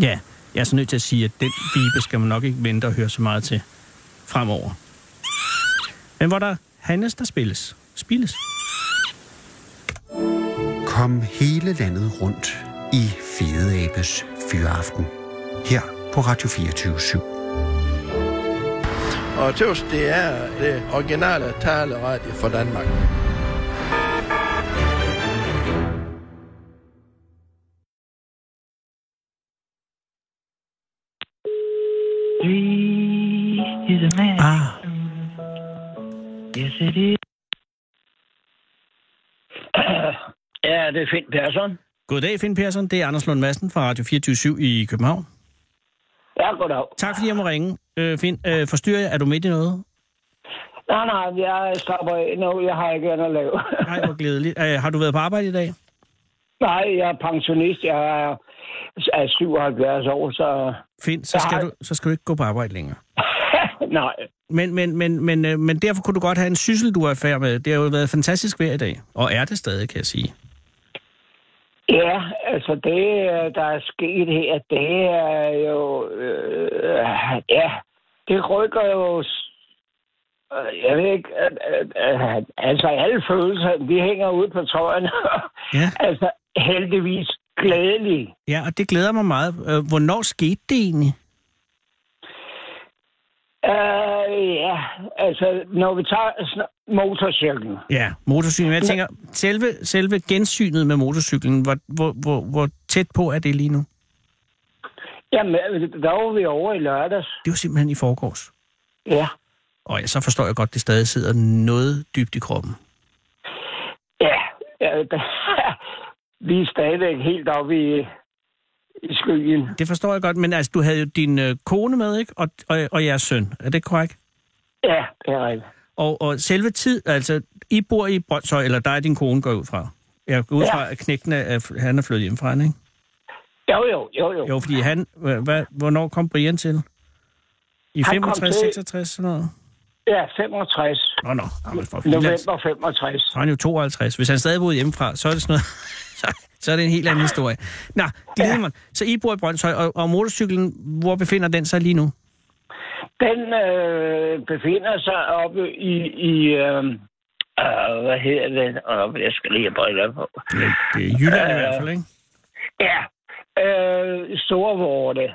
Ja, jeg er så nødt til at sige, at den vibe skal man nok ikke vente og høre så meget til fremover. Men hvor der handles, der spilles. Spilles. Kom hele landet rundt i Fede Abes Fyraften. Her på Radio 24 /7. Og tøvs, det er det originale taleradio for Danmark. He's a man. Ah, Yes, it is. Ja, det er Finn Persson. goddag, Finn Persson. Det er Anders Lund Madsen fra Radio 24 i København. Ja, goddag. Tak fordi jeg må ringe. Øh, Finn, øh, forstyrrer jeg? Er du midt i noget? Nej, nej, jeg slapper af nu. Jeg har ikke andet at lave. Nej, hvor glædeligt. Øh, har du været på arbejde i dag? nej, jeg er pensionist. Jeg er, er 77 år, så... Finn, så skal, Nej. du, så skal du ikke gå på arbejde længere. nej, Men, men, men, men, øh, men derfor kunne du godt have en syssel, du er i færd med. Det har jo været fantastisk vejr i dag. Og er det stadig, kan jeg sige. Ja, altså det, øh, der er sket her, det er jo... Øh, ja, det rykker jo... s- øh, Jeg ved ikke, øh, øh, øh, altså alle følelser, de hænger ude på tøjen. Ja. altså heldigvis glædelige. Ja, og det glæder mig meget. Øh, Hvornår skete det egentlig? Øh, ja, altså når vi tager sn- motorcyklen. Ja, motorcyklen. Jeg tænker, selve, selve gensynet med motorcyklen, hvor, hvor, hvor, hvor tæt på er det lige nu? Jamen, øh, der var vi over i lørdags. Det var simpelthen i forgårs. Ja. Og ja, så forstår jeg godt, at det stadig sidder noget dybt i kroppen. Ja, ja vi er stadigvæk helt oppe i, i skyen. Det forstår jeg godt, men altså, du havde jo din øh, kone med, ikke? Og, og, og jeres søn. Er det korrekt? Ja, det er rigtigt. Og, og selve tid, altså, I bor i Brøndshøj, eller dig og din kone går jeg ud fra. Jeg går ud Ja. fra, at knægten er, han er flyttet hjem fra hende, ikke? Jo, jo, jo, jo. Jo, fordi han... hva- hva, hvornår kom Brian til? I kom 65, til- 66, sådan noget? Ja, 65. Nå, nå. Jamen, for filan. November 65. Så er han jo 52. Hvis han stadig boede hjemmefra, så er det sådan noget... så- så er det en helt anden historie. Nå, Glidemann, så I bor i Brøndshøj, og, og motorcyklen, hvor befinder den sig lige nu? Den øh, befinder sig oppe i... i øh, øh, hvad hedder det? Oh, jeg skal lige have briller på. Det er Jylland i hvert fald, ikke? Ja, øh, Storvorte.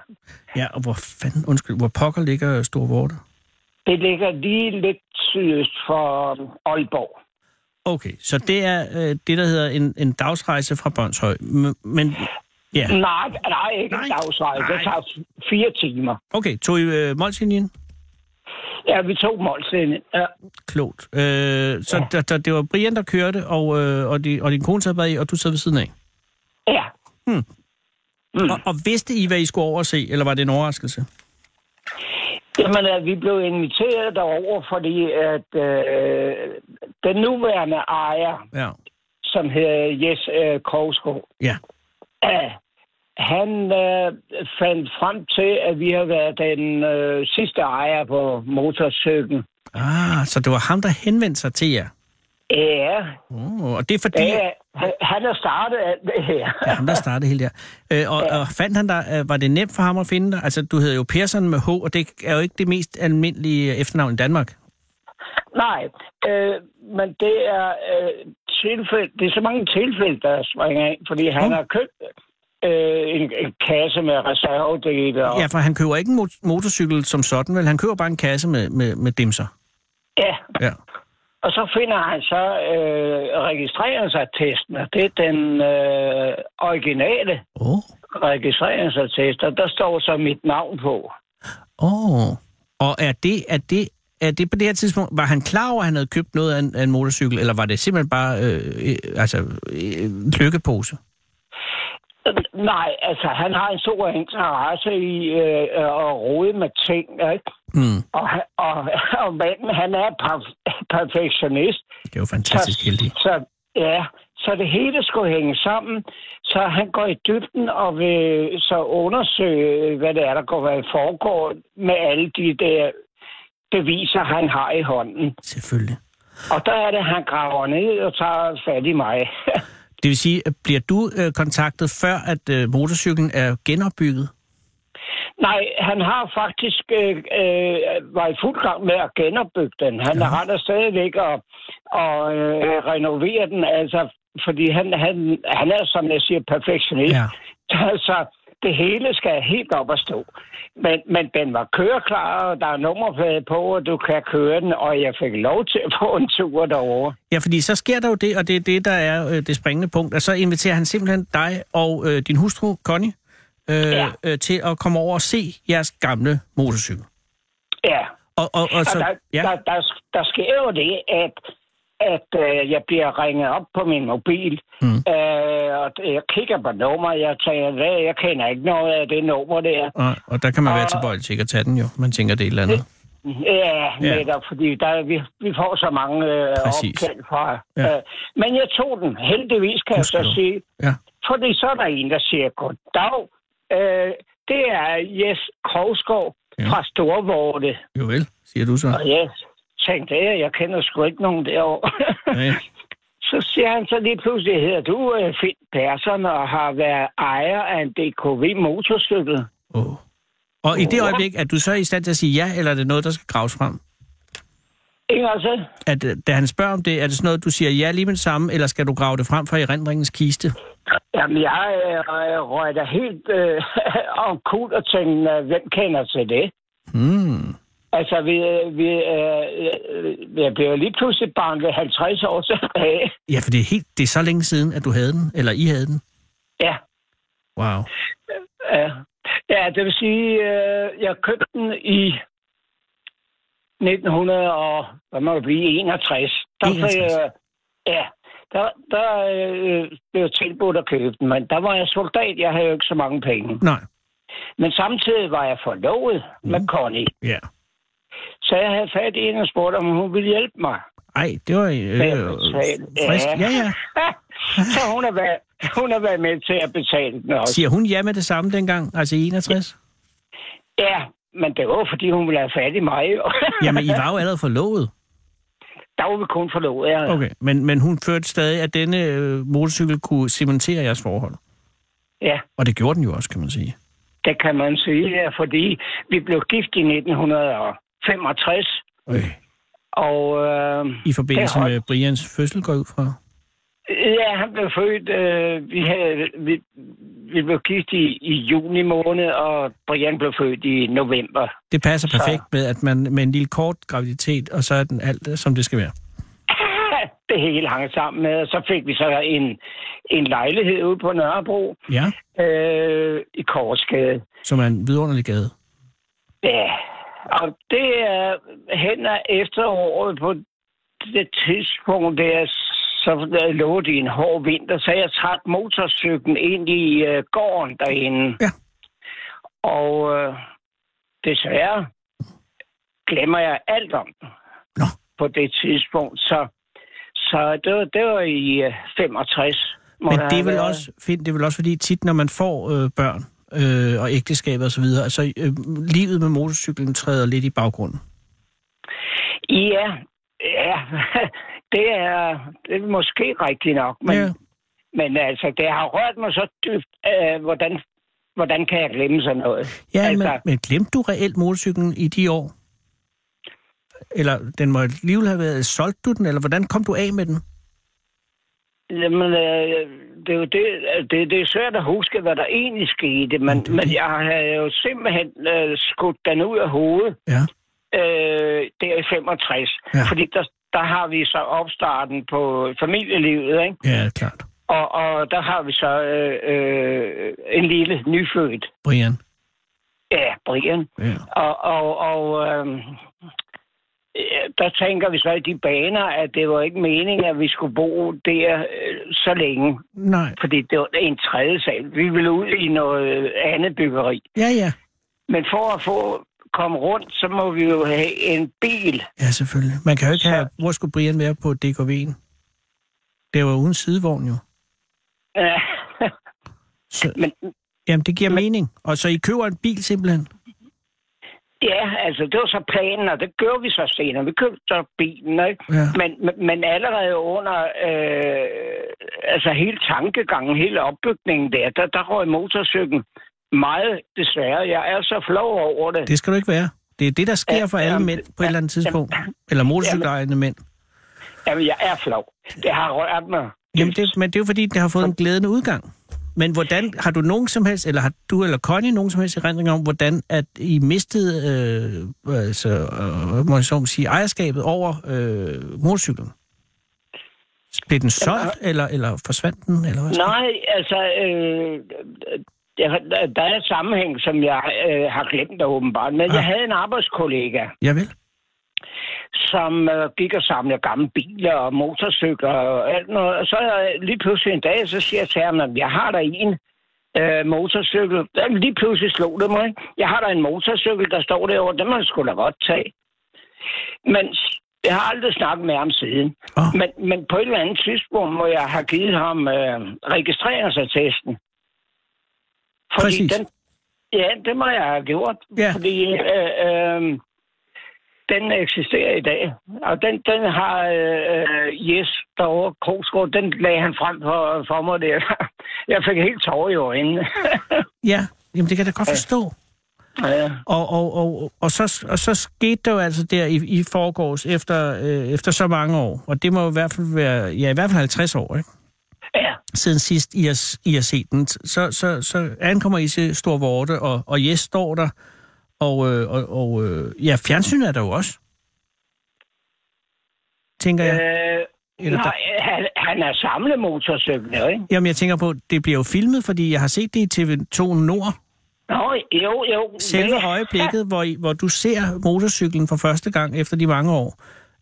Ja, og hvor fanden, undskyld, hvor pokker ligger Storvorte? Det ligger lige lidt sydøst for øh, Aalborg. Okay, så det er øh, det, der hedder en, en dagsrejse fra Brøndshøj. M- men, ja, Nej, nej, ikke Nej. en dagsrejse. Det Nej. tager fire timer. okay, tog I øh, Molslinjen? Ja, vi tog Molslinjen. Ja, Klogt. Øh, så ja. der, det var Brian, der kørte, og, øh, og, de, og din kone sad bag i, og du sad ved siden af. ja. Mm. Og, og vidste I, hvad I skulle over og se, eller var det en overraskelse? Jamen, at vi blev inviteret derover, fordi at øh, den nuværende ejer, Ja. som hedder Jes øh, Krogsgaard, Ja. øh, han øh, fandt frem til, at vi har været den øh, sidste ejer på motorcyklen. Ah, så det var ham, der henvendte sig til jer. Ja, Oh, og det er fordi... ja han- han har startet alt det her. Det er ham, der startede hele der. Øh, og, og fandt han dig, øh, var det nemt for ham at finde dig? Altså, du hedder jo Persson med H, og det er jo ikke det mest almindelige øh, efternavn i Danmark. Nej, øh, men det er, øh, tilfælde, det er så mange tilfælde, der springer ind, fordi han Mm. har købt øh, en, en kasse med reservedele. Og, Ja, for han køber ikke en mot- motorcykel som sådan, vel? Han køber bare en kasse med, med, med dimser. ja. Ja. Og så finder han så øh, registreringsattesten, og det er den øh, originale Åh, oh. registreringsattest, og der står så mit navn på. oh. og er det, er, det, er det på det her tidspunkt, var han klar over, at han havde købt noget af en, af en motorcykel, eller var det simpelthen bare øh, øh, altså, øh, lykkepose? Øh, Nej, altså han har en stor interesse i øh, at rode med ting, ikke? Mm. Og, han- og, og manden, han er perf- perfektionist, Det er jo fantastisk heldigt. Så, ja, så det hele skulle hænge sammen. Så han går i dybden og vil så undersøge, hvad det er, der går, hvad der foregår med alle de der beviser, han har i hånden. Selvfølgelig. Og der er det, han graver ned og tager fat i mig. Det vil sige, at bliver du øh, kontaktet før, at øh, motorcyklen er genopbygget? Nej, han har faktisk øh, øh, var i fuld gang med at genopbygge den. Han ja. render stadigvæk og, og øh, renovere den, altså, fordi han, han, han er, som jeg siger, perfektionist. Ja. Altså, det hele skal helt op at stå. Men, men den var køreklar, og der er nummerplade på, og du kan køre den, og jeg fik lov til at få en tur derovre. Ja, fordi så sker der jo det, og det er det, der er øh, det springende punkt. Og så inviterer han simpelthen dig og øh, din hustru, Connie, øh, ja. Ja. øh, til at komme over og se jeres gamle motorcykel. Ja, Og, og, og, og så, der, ja. der, der, der sker jo det, at at øh, jeg bliver ringet op på min mobil, mm. øh, og jeg kigger på nummer, jeg tænker, hvad, jeg kender ikke noget af det nummer der. og, og der kan man være og- tilbøjelig til ikke at tage den jo. Man tænker, det er et eller andet. Ja, Ja. netop, fordi der, vi, vi får så mange øh, Præcis. opkald fra. Ja. Ja. Øh, men jeg tog den, heldigvis kan jeg så Gudskelov. sige. Ja. Fordi så er der en, der siger, goddag, øh, det er Jes Krogsgaard Ja. ja. fra Storvorte. Jo vel, siger du så. Og jeg tænkte, ja, jeg kender sgu ikke nogen derovre. Ja, ja. Så siger han så lige pludselig, hedder du øh, Finn Persson og har været ejer af en DKV motorcykel? Oh. Og i det øjeblik, er du så i stand til at sige ja, eller er det noget, der skal graves frem? Ikke altså? At, øh, da han spørger om det, er det sådan noget, du siger ja lige med det samme, eller skal du grave det frem fra erindringens kiste? Jamen, jeg øh, øh, røg da helt øh, omkuld og tænkte, øh, hvem kender til det? Mm. Altså, vi, øh, vi, øh, øh, jeg blev lige pludselig banket 50 år tilbage. Ja, for det er, helt, det er så længe siden, at du havde den, eller I havde den. Ja, Wow. ja. ja det vil sige, øh, jeg købte den i 1900 og, hvad må det blive, 61. Der 61. Blev, øh, ja, der, der øh, blev jeg tilbudt at købe den, men der var jeg soldat, jeg havde jo ikke så mange penge. Nej. Men samtidig var jeg forlovet mm. med Connie. Ja. Så jeg havde fat i hende og spurgte, om hun ville hjælpe mig. Ej, det var øh, Med at øh, betale. frisk. Ja, ja. så hun har, været, hun har været med til at betale den også. Siger hun ja med det samme dengang, altså i 61? Ja, men det var fordi, hun ville have fat i mig. jo. Jamen, I var jo allerede forlovet. Der var vi kun forlovet. Ja. Okay, men, men hun førte stadig, at denne øh, motorcykel kunne cementere jeres forhold. ja, Og det gjorde den jo også, kan man sige. det kan man sige, ja, fordi vi blev gift i 1965. Øh. Og øh, I forbindelse Det er med Brians fødsel går jeg ud fra. ja, han blev født, øh, vi, havde, vi, vi blev gift i, i juni måned, og Brian blev født i november. Det passer Så- perfekt med, at man med en lille kort graviditet, og så er den alt, øh, som det skal være. det hele hang sammen med, og så fik vi så en, en lejlighed ude på Nørrebro Ja, øh, i Korsgade. som er en vidunderlig gade. Ja, og det er hen ad efteråret på det tidspunkt, der så lå det i en hård vinter, så jeg trak motorcyklen ind i øh, gården derinde. Ja. Og øh, desværre glemmer jeg alt om den Nå. på det tidspunkt. Så, så det, var, det var i øh, 65. må Men have det er vel været. også, Finn, det er vel også fordi tit, når man får øh, børn øh, og ægteskaber osv., altså øh, livet med motorcyklen træder lidt i baggrunden. Ja, ja. Det er, det er måske rigtigt nok, men, Ja. ja. men altså, det har rørt mig så dybt, øh, hvordan, hvordan kan jeg glemme sådan noget? Ja, altså... altså, men, men glemte du reelt motorcyklen i de år? Eller den må alligevel have været, solgte du den, eller hvordan kom du af med den? Jamen, øh, det, er jo det, det, det er svært at huske, hvad der egentlig skete, men, men jeg har jo simpelthen øh, skudt den ud af hovedet Ja. øh, der i 65, Ja. ja. fordi der, der har vi så opstarten på familielivet, ikke? Ja, klart. Og, og der har vi så øh, øh, en lille nyfødt. Brian. Ja, Brian. Ja. Og, og, og øhm, ja, der tænker vi så i de baner, at det var ikke meningen, at vi skulle bo der øh, så længe. Nej. Fordi det var en tredje sal. Vi ville ud i noget andet byggeri. Ja, ja. Men for at få komme rundt, så må vi jo have en bil. Ja, selvfølgelig. Man kan jo ikke Så- have... Hvor skulle Brian være på DKV'en? Det var uden sidevogn jo. Ja. Så, Men jamen, det giver mening. Og så I køber en bil simpelthen? ja, altså det var så planen, og det gjorde vi så senere. Vi købte så bilen, ikke? Ja. Men, men- men allerede under øh, altså hele tankegangen, hele opbygningen der, der, der røg motorcyklen meget desværre. Jeg er så flov over det. Det skal du ikke være. Det er det, der sker Ja, for alle jamen, mænd på et ja, eller andet tidspunkt. Eller motorcykelejende mænd. Jamen, jeg er flov. Det har rørt mig. Jamen, det, men det er jo fordi, det har fået en glædende udgang. Men hvordan, har du nogen som helst, eller har du eller Connie nogen som helst erindring om, hvordan at I mistede, øh, altså, øh, må jeg så må sige, ejerskabet over øh, motorcyklen? Blev den solgt, eller, eller forsvandt den, eller hvad? skete der? øh, Nej, altså, øh, der, der- der er et sammenhæng, som jeg øh, har glemt der åbenbart. Men Ja. ja. jeg havde en arbejdskollega, Jeg vil. som øh, gik og samlede gamle biler og motorcykler og alt noget. Og så øh, lige pludselig en dag, så siger jeg til ham, at jeg har der en øh, motorcykel. Der, lige pludselig slog det mig. ikke? Jeg har der en motorcykel, der står derovre. Den må jeg sgu da godt tage. Men s- jeg har aldrig snakket med ham siden. Åh. Men, men på et eller andet tidspunkt må jeg have givet ham øh, registreringsattesten. Præcis. Den, ja, det må jeg have gjort. Ja. Fordi øh, øh, den eksisterer i dag. Og den, den har øh, Jes derovre, Krogsgaard, den lagde han frem for, for mig der. Jeg fik helt tårer i øjnene. Ja, jamen det kan jeg da godt forstå. ja. Og, og, og, og, så, og så skete der jo altså der i, i forgårs efter, øh, efter så mange år, og det må jo i hvert fald være, ja i hvert fald 50 år, ikke? ja. siden sidst I har, I har set den. Så, så, så ankommer I til Storvorte, og, og Jes står der, og, øh, og, og øh, ja, fjernsynet er der jo også, tænker jeg. Øh, Eller nej, han, han er samlemotorcykler, ikke? Jamen, jeg tænker på, det bliver jo filmet, fordi jeg har set det i TV2 Nord, Nå, jo, jo. selve men- øjeblikket, hvor, I- hvor du ser motorcyklen for første gang efter de mange år,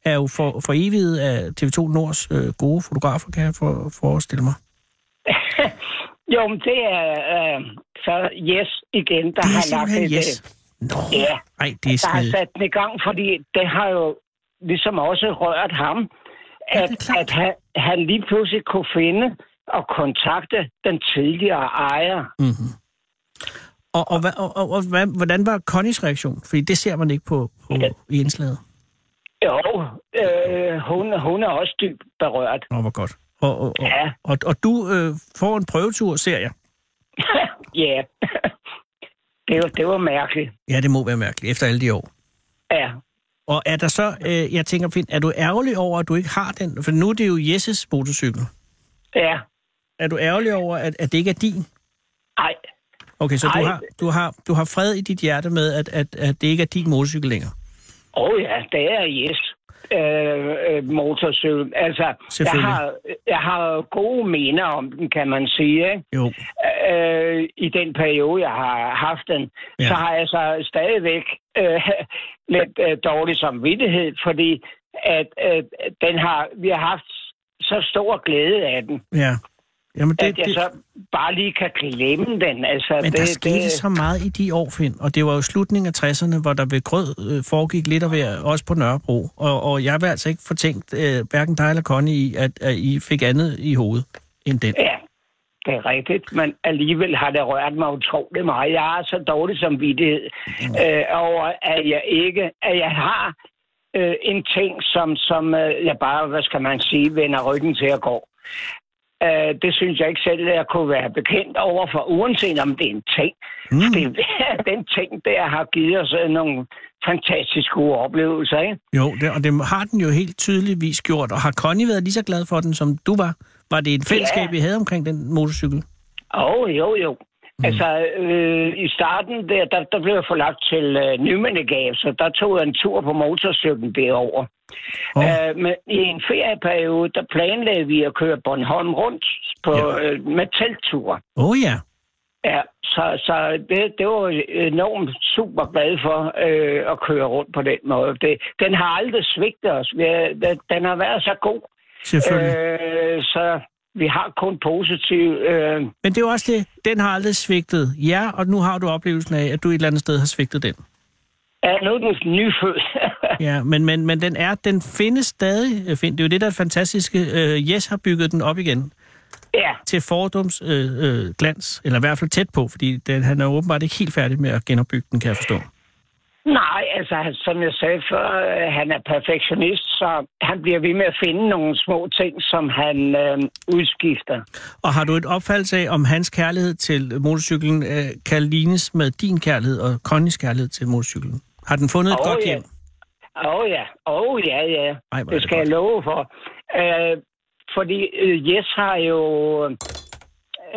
er jo for, for evigt af TV2 Nords øh, gode fotografer, kan jeg for, forestille mig. Jo, men det er øh, så Jes igen, der Det er har lagt simpelthen det. yes. Nå, Ja. ej, det er der har snedigt. sat den i gang, fordi det har jo ligesom også rørt ham, det er at, klart. at han, han lige pludselig kunne finde og kontakte den tidligere ejer. Mm. Og, og, hvad- og, og, og hvad- hvordan var Connys reaktion? Fordi det ser man ikke på, på ja. i indslaget. Jo, øh, hun, hun er også dybt berørt. Nå, hvor godt. Og, og, og, Ja. og, og du øh, får en prøvetur, ser jeg. Ja, det, var, det var mærkeligt. Ja, det må være mærkeligt, efter alle de år. Ja. Og er der så, øh, jeg tænker, Finn, er du ærgerlig over, at du ikke har den? For nu er det jo Jesses motorcykel. Ja, Er du ærgerlig over, at, at det ikke er din? ej, Okay, så du Ej. har, du, har, du har fred i dit hjerte med, at, at, at det ikke er din motorcykel længere. Åh oh ja, det er yes. Øh, øh, motorcykel. Altså, jeg Selvfølgelig. har, jeg har jo gode minder om den, kan man sige. Ikke? Jo. Øh, I den periode, jeg har haft den, Ja. ja. så har jeg så stadigvæk øh, lidt øh, dårlig samvittighed, fordi at, øh, den har, vi har haft så stor glæde af den, Ja. Jamen, det, det, at jeg det, så bare lige kan glemme den. Altså, Men det, der skete det, så meget i de år, Finn, og det var jo slutningen af 60'erne, hvor der ved grød øh, foregik lidt af hver, også på Nørrebro. Og, og jeg vil altså ikke fortænkt øh, hverken dig eller Connie i, at, at I fik andet i hovedet end den. Ja, det er rigtigt, men alligevel har det rørt mig utrolig meget. Jeg har så dårlig samvittighed øh, over, at jeg ikke, at jeg har øh, en ting, som, som øh, jeg bare, hvad skal man sige, vender ryggen til at gå. Øh, det synes jeg ikke selv, at jeg kunne være bekendt overfor, uanset om det er en ting. Mm. Det, den ting der har givet os øh, nogle fantastisk gode oplevelser, ikke? Jo, det, og det har den jo helt tydeligvis gjort, og har Connie været lige så glad for den, som du var? Var det et fællesskab, Ja. I havde omkring den motorcykel? Åh, oh, jo, jo. Mm. Altså, øh, i starten der, der, der blev jeg forlagt til øh, Nymandegab, så der tog jeg en tur på motorcyklen derovre. Åh. Oh. Øh, men i en ferieperiode, der planlagde vi at køre Bornholm rundt på, Ja. ja. øh, med telttur. Åh oh, ja. Ja, så, så det, det var jeg enormt super glad for øh, at køre rundt på den måde. Det, den har aldrig svigtet os. Vi, er- den- den har været så god, Selvfølgelig. Øh... øh, så vi har kun positiv... Øh, Men det er jo også det, den har aldrig svigtet jer, og nu har du oplevelsen af, at du et eller andet sted har svigtet den. Ja, nu er den nyfødt. Ja, men, men, men den er, den findes stadig. øh, Finn. Det er jo det, der er fantastiske. Øh, yes har bygget den op igen ja, til fordoms øh, øh, glans, eller i hvert fald tæt på, fordi den, han er åbenbart ikke helt færdig med at genopbygge den, kan jeg forstå. nej, altså han- som jeg sagde før, øh, han er perfektionist, så han bliver ved med at finde nogle små ting, som han øh, udskifter. Og har du et opfattelse af, om hans kærlighed til motorcyklen øh, kan lignes med din kærlighed og Connys kærlighed til motorcyklen? Har den fundet et Åh, godt ja. hjem? Åh oh, ja, åh oh, ja, ja. Ej, Ej, hvor er det det skal jeg love for. Øh, fordi øh, Jes har jo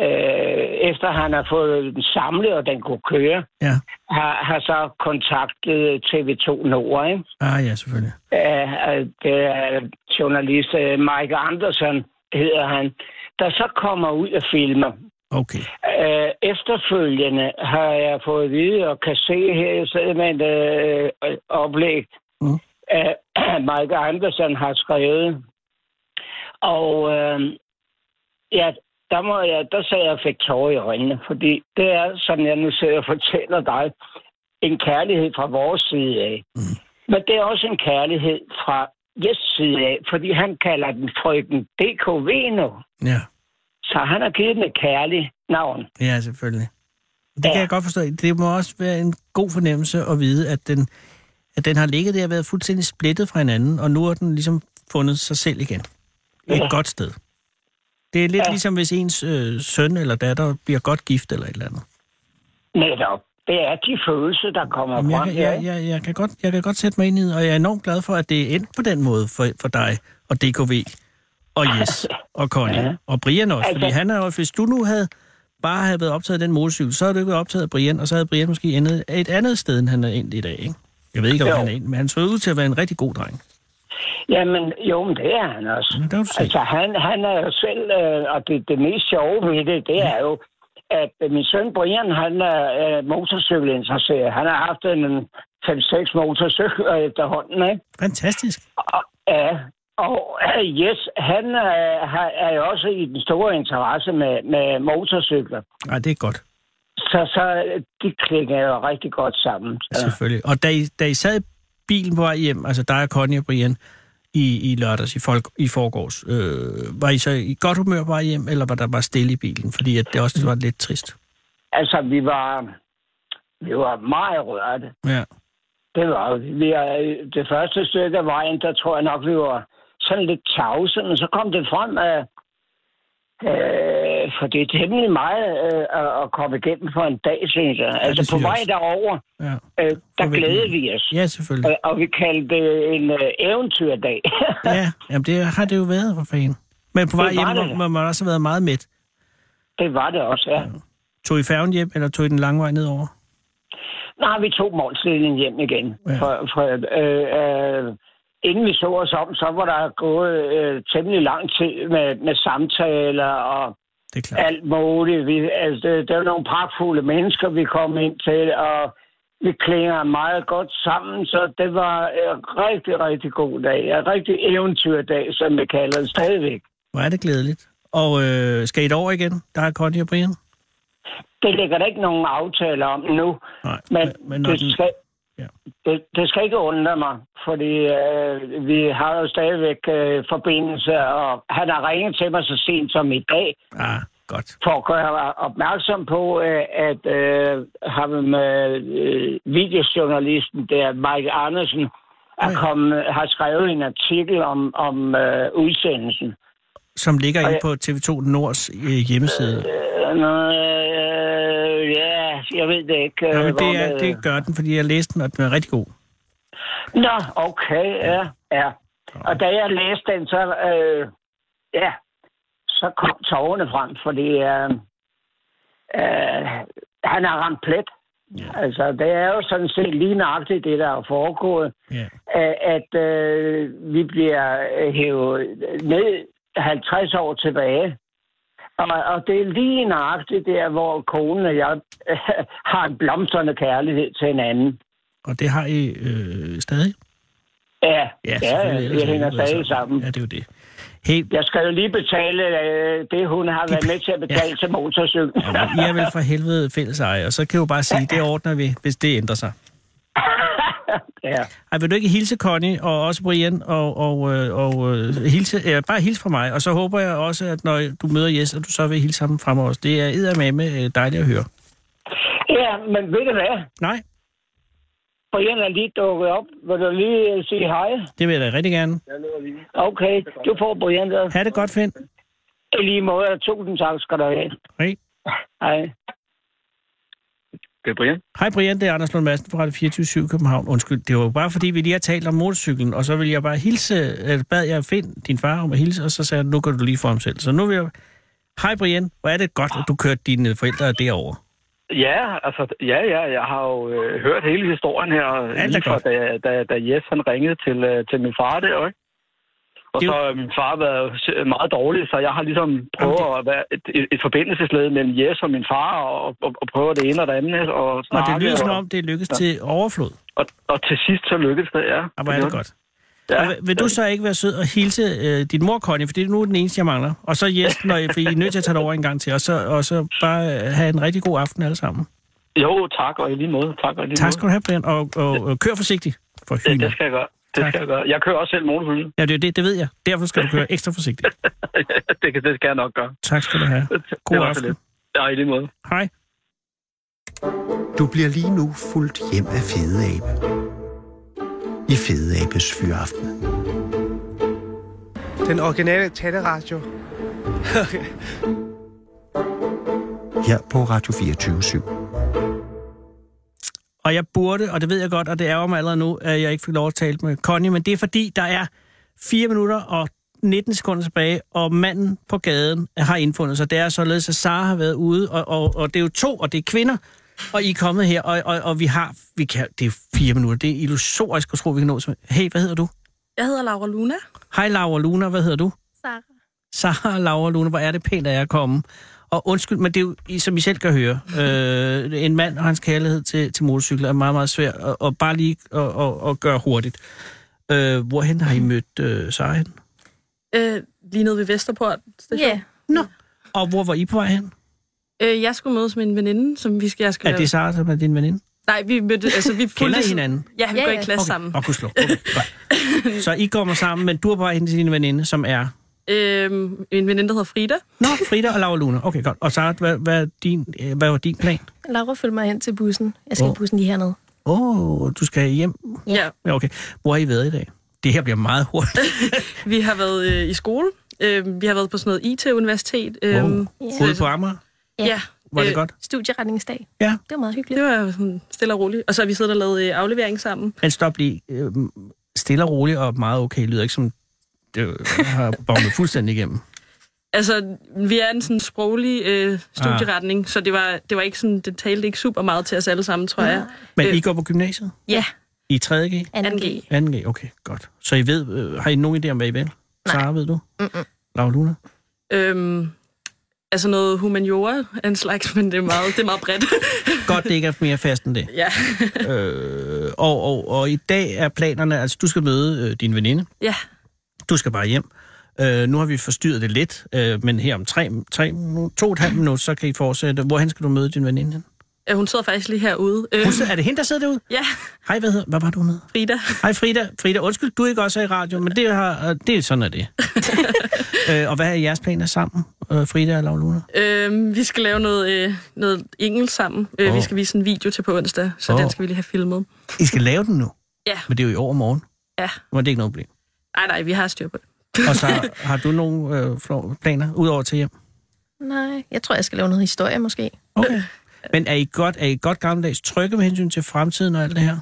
øh, efter han har fået den samlet, og den kunne køre, Ja. har, har så kontaktet TV2 Nord, ikke? Ah, ja, selvfølgelig. af at, øh, journalist øh, Mike Andersen, hedder han, der så kommer ud og filmer. Okay. Øh, efterfølgende har jeg fået at vide, og kan se her, jeg sidder med et øh, øh, oplæg, Mm. mm. øh, Mike Andersen har skrevet. Og øh, ja, der, må jeg, der sagde jeg, at jeg fik tårer i øjnene, fordi det er, som jeg nu sidder og fortæller dig, en kærlighed fra vores side af. Mm. Men det er også en kærlighed fra Jes side af, fordi han kalder den frøken DKV nu. Ja, Så han har givet den et kærligt navn. ja selvfølgelig. Det ja. kan Ja. jeg godt forstå. Det må også være en god fornemmelse at vide, at den, at den har ligget der og været fuldstændig splittet fra hinanden, og nu har den ligesom fundet sig selv igen. Et Ja. godt sted. Det er lidt ja. Ja. ligesom, hvis ens øh, søn eller datter bliver godt gift eller et eller andet. Netop. Det er de følelser, der kommer Jamen, jeg, frem. kan, ja, jeg, jeg, jeg, kan godt, jeg kan godt sætte mig ind i det, og jeg er enormt glad for, at det er endt på den måde for, for dig og DKV og Jes og Conny ja. Ja. og Brian også. Altså- Fordi han er jo, hvis du nu havde bare havde været optaget af den motorcykel, så havde du ikke været optaget af Brian, og så havde Brian måske endet et andet sted, end han er endt i dag, ikke? Jeg ved ikke, om jo. Jo. han er endt, men han så ud til at være en rigtig god dreng. Jamen, jo, men det er han også. Men det er jo altså, Altså, han, han er jo selv, øh, og det, det mest sjove ved det, det er jo, at øh, min søn Brian, han er øh, motorcykelinteresseret. Han har haft en 5-6 motorcykler efterhånden, ikke? fantastisk. Og, ja, og øh, yes, han øh, har- er jo også i den store interesse med, med motorcykler. Nej, det er godt, Så, så øh, de klinger jo rigtig godt sammen. ja. Så. selvfølgelig. Og da I, da I sad i bilen på vej hjem, altså dig og Conny og Brian, i, i lørdags, i, folk, i forgårs, øh, var I så i godt humør på vej hjem, eller var der bare stille i bilen? Fordi at det Mm. også var lidt trist. Altså, vi var, vi var meget rørte. Ja. Det var vi. vi. er- Det første stykke af vejen, der tror jeg nok, vi var sådan lidt tavse, men så kom det frem, at, øh, for det er temmelig meget øh, at- at komme igennem for en dag, synes jeg. Altså det på synes jeg vej også. derover, ja. øh, der Forventning. glædede vi os. Ja, selvfølgelig. Og- Og vi kaldte det en øh, eventyrdag. Ja, jamen det har det jo været, for fanden. Men på vej var hjem det. må- må man også have været meget mæt. det var det også, ja. Tog I færgen hjem, eller tog I den lange vej nedover? Nej, vi tog målstillingen hjem igen. Ja. Ja. For, for, øh, øh, inden vi så os om, så var der gået øh, temmelig lang tid med, med samtaler og Det er klart. alt muligt. Vi, altså, det, det var nogle pragtfulde mennesker, vi kom ind til, og vi klinger meget godt sammen, så det var en rigtig, rigtig god dag. En rigtig eventyrdag, som vi kalder det stadigvæk. Hvor er det glædeligt. Og øh, skal I over igen? Der er Conny og Brian. Det ligger der ikke nogen aftaler om nu, Nej, men, men- men når den- det, skal, Ja. det, det skal ikke undre mig, fordi øh, vi har jo stadigvæk øh, forbindelse, og han har ringet til mig så sent som i dag, Ah, godt. for at gøre mig opmærksom på, øh, at øh, ham med øh, videojournalisten der, Mike Andersen, er Ja. kommet, har skrevet en artikel om, om øh, udsendelsen. Som ligger inde jeg- på TV2 Nords øh, hjemmeside. Øh, nå, øh, ja, jeg ved det ikke. Ja, øh, men hvor det, er, med- det gør den, fordi jeg læste den, og den er rigtig god. Nå, okay, ja, ja. Og da jeg læste den, så, øh, ja, så kom tårerne frem, fordi øh, øh, han har ramt plet. Ja. Altså, det er jo sådan set lige nøjagtigt det, der er foregået, Ja. at, at øh, vi bliver øh, hævet ned 50 år tilbage. Og, og det er lige nøjagtigt der, hvor konen og jeg øh, har en blomstrende kærlighed til hinanden. Og det har I øh, stadig? Ja, ja, ja selvfølgelig, ellers det havde hænger det været stadig sammen. Ja, det er jo det. Helt, Jeg skal jo lige betale øh, det, hun har været med til at betale ja. til motorcyklen. I er vel for helvede fælles eje, og så kan du bare sige, det ordner vi, hvis det ændrer sig. ja. Ej, vil du ikke hilse Conny og også Brian og, og, øh, og øh, hilse, ja, bare hilse fra mig, og så håber jeg også, at når du møder Jes, at du så vil hilse ham fremover også. Det er eddermame øh, dejligt at høre. ja, men ved du hvad? Nej, Brian er lige dukket op. Vil du lige øh, sige hej? det vil jeg da rigtig gerne. Okay, du får Brian der. Ha' det godt, Finn. I lige måde, og tusind tak skal du have. Hej. Hej. Det er Brian. Hej Brian, det er Anders Lund Madsen fra Radio 24 København. Undskyld, det var jo bare fordi, vi lige har talt om motorcyklen, og så ville øh, jeg bare hilse, eller bad jeg Finn, din far, om at hilse, og så sagde han, nu kan du lige få ham selv. Så nu vil jeg... Hej Brian, hvor er det godt, at du kørte dine forældre derover. Ja, altså, ja, ja, jeg har jo øh, hørt hele historien her, er lige fra, godt. da, da, da Jes han ringede til, øh, til min far der, ikke? Og Det er så jo- har min far været s- meget dårlig, så jeg har ligesom prøvet Jamen, at være et, et, et forbindelsesled mellem Jes og min far, og, og, og prøve det ene og det andet, ikke? og Og snakke. det lyder som og, om, det lykkes Ja. til overflod. og, og til sidst så lykkedes det, ja. Og hvor er det godt. Ja. Og vil- vil du så ikke være sød og hilse øh, din mor, Connie, for det er nu den eneste, jeg mangler. Og så Jes, når I, for I er nødt til at tage det over en gang til. Og så, og så bare øh, have en rigtig god aften alle sammen. Jo, tak, og i lige måde. Tak, og i lige Tak måde. skal du have, Brian, og, og, og kør forsigtigt for det, hylder. det skal jeg gøre. Det Tak. skal jeg gøre. Jeg kører også selv morgenhylde. Ja, det er jo det, det ved jeg. Derfor skal du køre ekstra forsigtigt. det, kan- det skal jeg nok gøre. Tak skal du have. det God var så aften. lidt. Ja, i lige måde. Hej. Du bliver lige nu fuldt hjem af Fede Abe. I Fede Abes Fyraften. Den originale taleradio. Her på Radio 24 /7. Og jeg burde, og det ved jeg godt, og det ærger mig allerede nu, at jeg ikke fik lov at tale med Connie, men det er fordi, der er 4 minutter og 19 sekunder tilbage, og manden på gaden har indfundet sig. Det er således, at Sara har været ude, og, og, og det er jo to, og det er kvinder, og I er kommet her, og, og, og vi har, vi kan, det er fire minutter, det er illusorisk at tro, vi kan nå. så- Hey, hvad hedder du? Jeg hedder Laura Luna. Hej Laura Luna, hvad hedder du? Sarah. Sara og Laura Lune, hvor er det pænt af jer at komme. Og undskyld, men det er jo, I- som I selv kan høre, øh, en mand og hans kærlighed til, til motorcykler er meget, meget svært at, at bare lige at, at, at gøre hurtigt. Øh, hvorhen har I mødt øh, Sara hen? Øh, lige nede ved Vesterport station. Yeah. Og hvor var I på vej hen? Øh, jeg skulle mødes med en veninde, som vi skal... Jeg skal Er det Sara, som er din veninde? Nej, vi mødte... Altså, vi Kender I fulgte- hinanden? Ja, vi Ja, går ja. i klasse okay. sammen. Og kunne slå. Okay, godt. Så I kommer sammen, men du er på vej hen til din veninde, som er... Øh, en veninde, der hedder Frida. Nå, Frida og Laura Lune. Okay, godt. Og Sara, hvad, hvad, er din, øh, hvad var din plan? Laura, følg mig hen til bussen. Jeg skal Åh. oh. bussen lige hernede. Åh, oh, du skal hjem. Ja. ja. Ja, okay. Hvor har I været i dag? Det her bliver meget hurtigt. Vi har været øh, i skole. Øh, vi har været på sådan noget IT-universitet. Øh, Wow. så- Ude på Amager? Ja. Var det Øh, godt? Studieretningsdag. Ja. Det var meget hyggeligt. Det var sådan stille og roligt. Og så har vi siddet og lavet øh, aflevering sammen. Men stop lige. Øhm, Stille og roligt og meget okay. Lyder ikke som, det har bombet fuldstændig igennem. Altså, vi er en sådan sproglig øh, studieretning, Ah. så det var, det var ikke sådan, det talte ikke super meget til os alle sammen, tror jeg. Men Øh. I går på gymnasiet? Ja. I 3.G? 2G. 2G. 2G? Okay, godt. Så I ved, øh, har I nogen idé om, hvad I vil? Sara, ved du? Mm-mm. Laura Luna? Øhm, altså noget humaniora af en slags, men det er meget, det er meget bredt. Godt, det ikke er mere fast end det. ja. Øh, og, og, og i dag er planerne, altså du skal møde øh, din veninde. ja. Du skal bare hjem. Øh, nu har vi forstyrret det lidt, øh, men her om tre, tre, minu- to og et halvt minutter, så kan I fortsætte. Hvorhen skal du møde din veninde? hen? Øh, Hun sidder faktisk lige herude. Øh, Hun sidder- Er det hende, der sidder derude? ja, Hej, hvad, hedder, hvad var du med? Frida. Hej Frida. Frida, undskyld, du er ikke også er i radio, men det, har, øh, det er sådan er det. øh, og hvad er jeres planer sammen, øh, Frida og Laura Luna? Øhm, vi skal lave noget, øh, noget engelsk sammen. Øh, Åh. Vi skal vise en video til på onsdag, så Åh. den skal vi lige have filmet. I skal lave den nu, Ja, men det er jo i overmorgen. ja. Men det er ikke noget problem. Nej, nej, vi har styr på det. Og så har du nogle øh, flå- planer udover til hjem? Nej, jeg tror, jeg skal lave noget historie måske. Okay. Men er I godt, er I godt gammeldags trygge med hensyn til fremtiden og alt det her?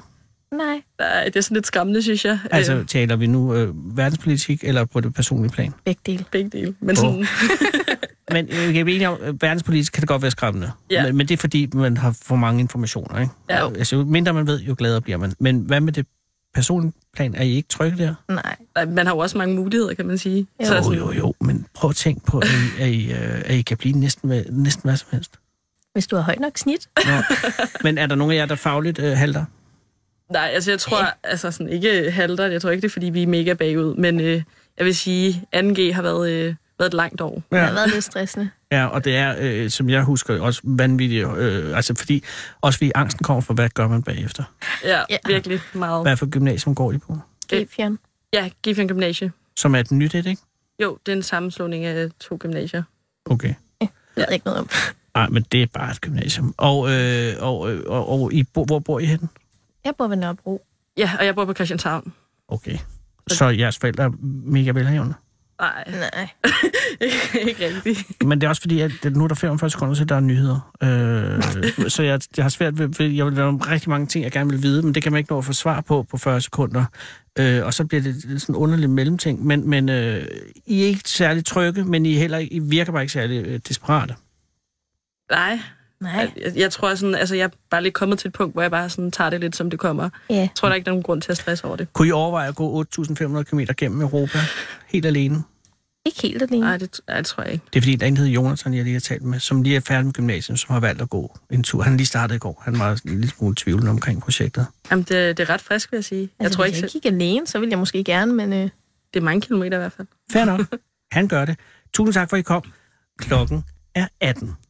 Nej. Nej, det er sådan lidt skræmmende, synes jeg. Altså, øh, taler vi nu øh, verdenspolitik eller på det personlige plan? Begge dele. begge dele. Men Åh. sådan, Men øh, jeg er enig om, at verdenspolitisk kan det godt være skræmmende. Ja. Men, men det er fordi, man har for mange informationer. Ikke? Ja. Jo. Altså, jo mindre man ved, jo gladere bliver man. Men hvad med det personlige plan? Er I ikke trygge der? Nej. nej, man har jo også mange muligheder, kan man sige. Jo. Så Jo, sådan, jo, jo. Men prøv at tænke på, at I, at I, øh, at I kan blive næsten, hvad- næsten hvad som helst. Hvis du har højt nok snit. Nå. men er der nogen af jer, der fagligt øh, halter? Nej, altså jeg tror altså sådan ikke halter. Jeg tror ikke, det er, fordi vi er mega bagud. Men øh, jeg vil sige, 2G har været, øh, været et langt år. Ja. Det har været lidt stressende. Ja, og det er, øh, som jeg husker, også vanvittigt. Øh, altså fordi, også fordi angsten kommer for, hvad gør man bagefter? Ja, Ja. ja. virkelig meget. Hvad for gymnasium går I på? G-fjern. Ja, Gifjern Gymnasie. Som er et nyt et, ikke? Jo, det er en sammenslutning af to gymnasier. Okay. Det ved jeg ikke noget om. Nej, men det er bare et gymnasium. Og, øh, og, øh, og, og I bo, hvor bor I henne? Jeg bor ved Nørrebro. Ja, og jeg bor på Christianshavn. Okay. Så jeres forældre er mega velhavende? Nej. Nej. ikke, ikke rigtigt. Men det er også fordi, at det- nu er der 45 sekunder til, der er nyheder. Øh, så jeg, jeg har svært ved, ved, jeg vil der er rigtig mange ting, jeg gerne vil vide, men det kan man ikke nå at få svar på på 40 sekunder. Øh, og så bliver det sådan en underlig mellemting. Men, men øh, I er ikke særlig trygge, men I, er heller, ikke- I virker bare ikke særlig øh, desperate. Nej. Nej. Jeg, jeg tror sådan, altså jeg er bare lige kommet til et punkt, hvor jeg bare sådan tager det lidt, som det kommer. Ja. Jeg tror, der er ikke nogen grund til at stresse over det. Kunne I overveje at gå 8.500 km gennem Europa helt alene? Ikke helt alene. Nej, det, nej, det tror jeg ikke. Det er fordi, der er en, der hedder Jonathan, jeg lige har talt med, som lige er færdig med gymnasiet, som har valgt at gå en tur. Han lige startede i går. Han var en lille smule tvivlende omkring projektet. Jamen, det, det er ret frisk, vil jeg sige. Altså, jeg Altså, tror hvis ikke, jeg selv- gik alene, så ville jeg måske gerne, men øh, det er mange kilometer i hvert fald. Fair nok. Han gør det. Tusind tak, for at I kom. Klokken er 18.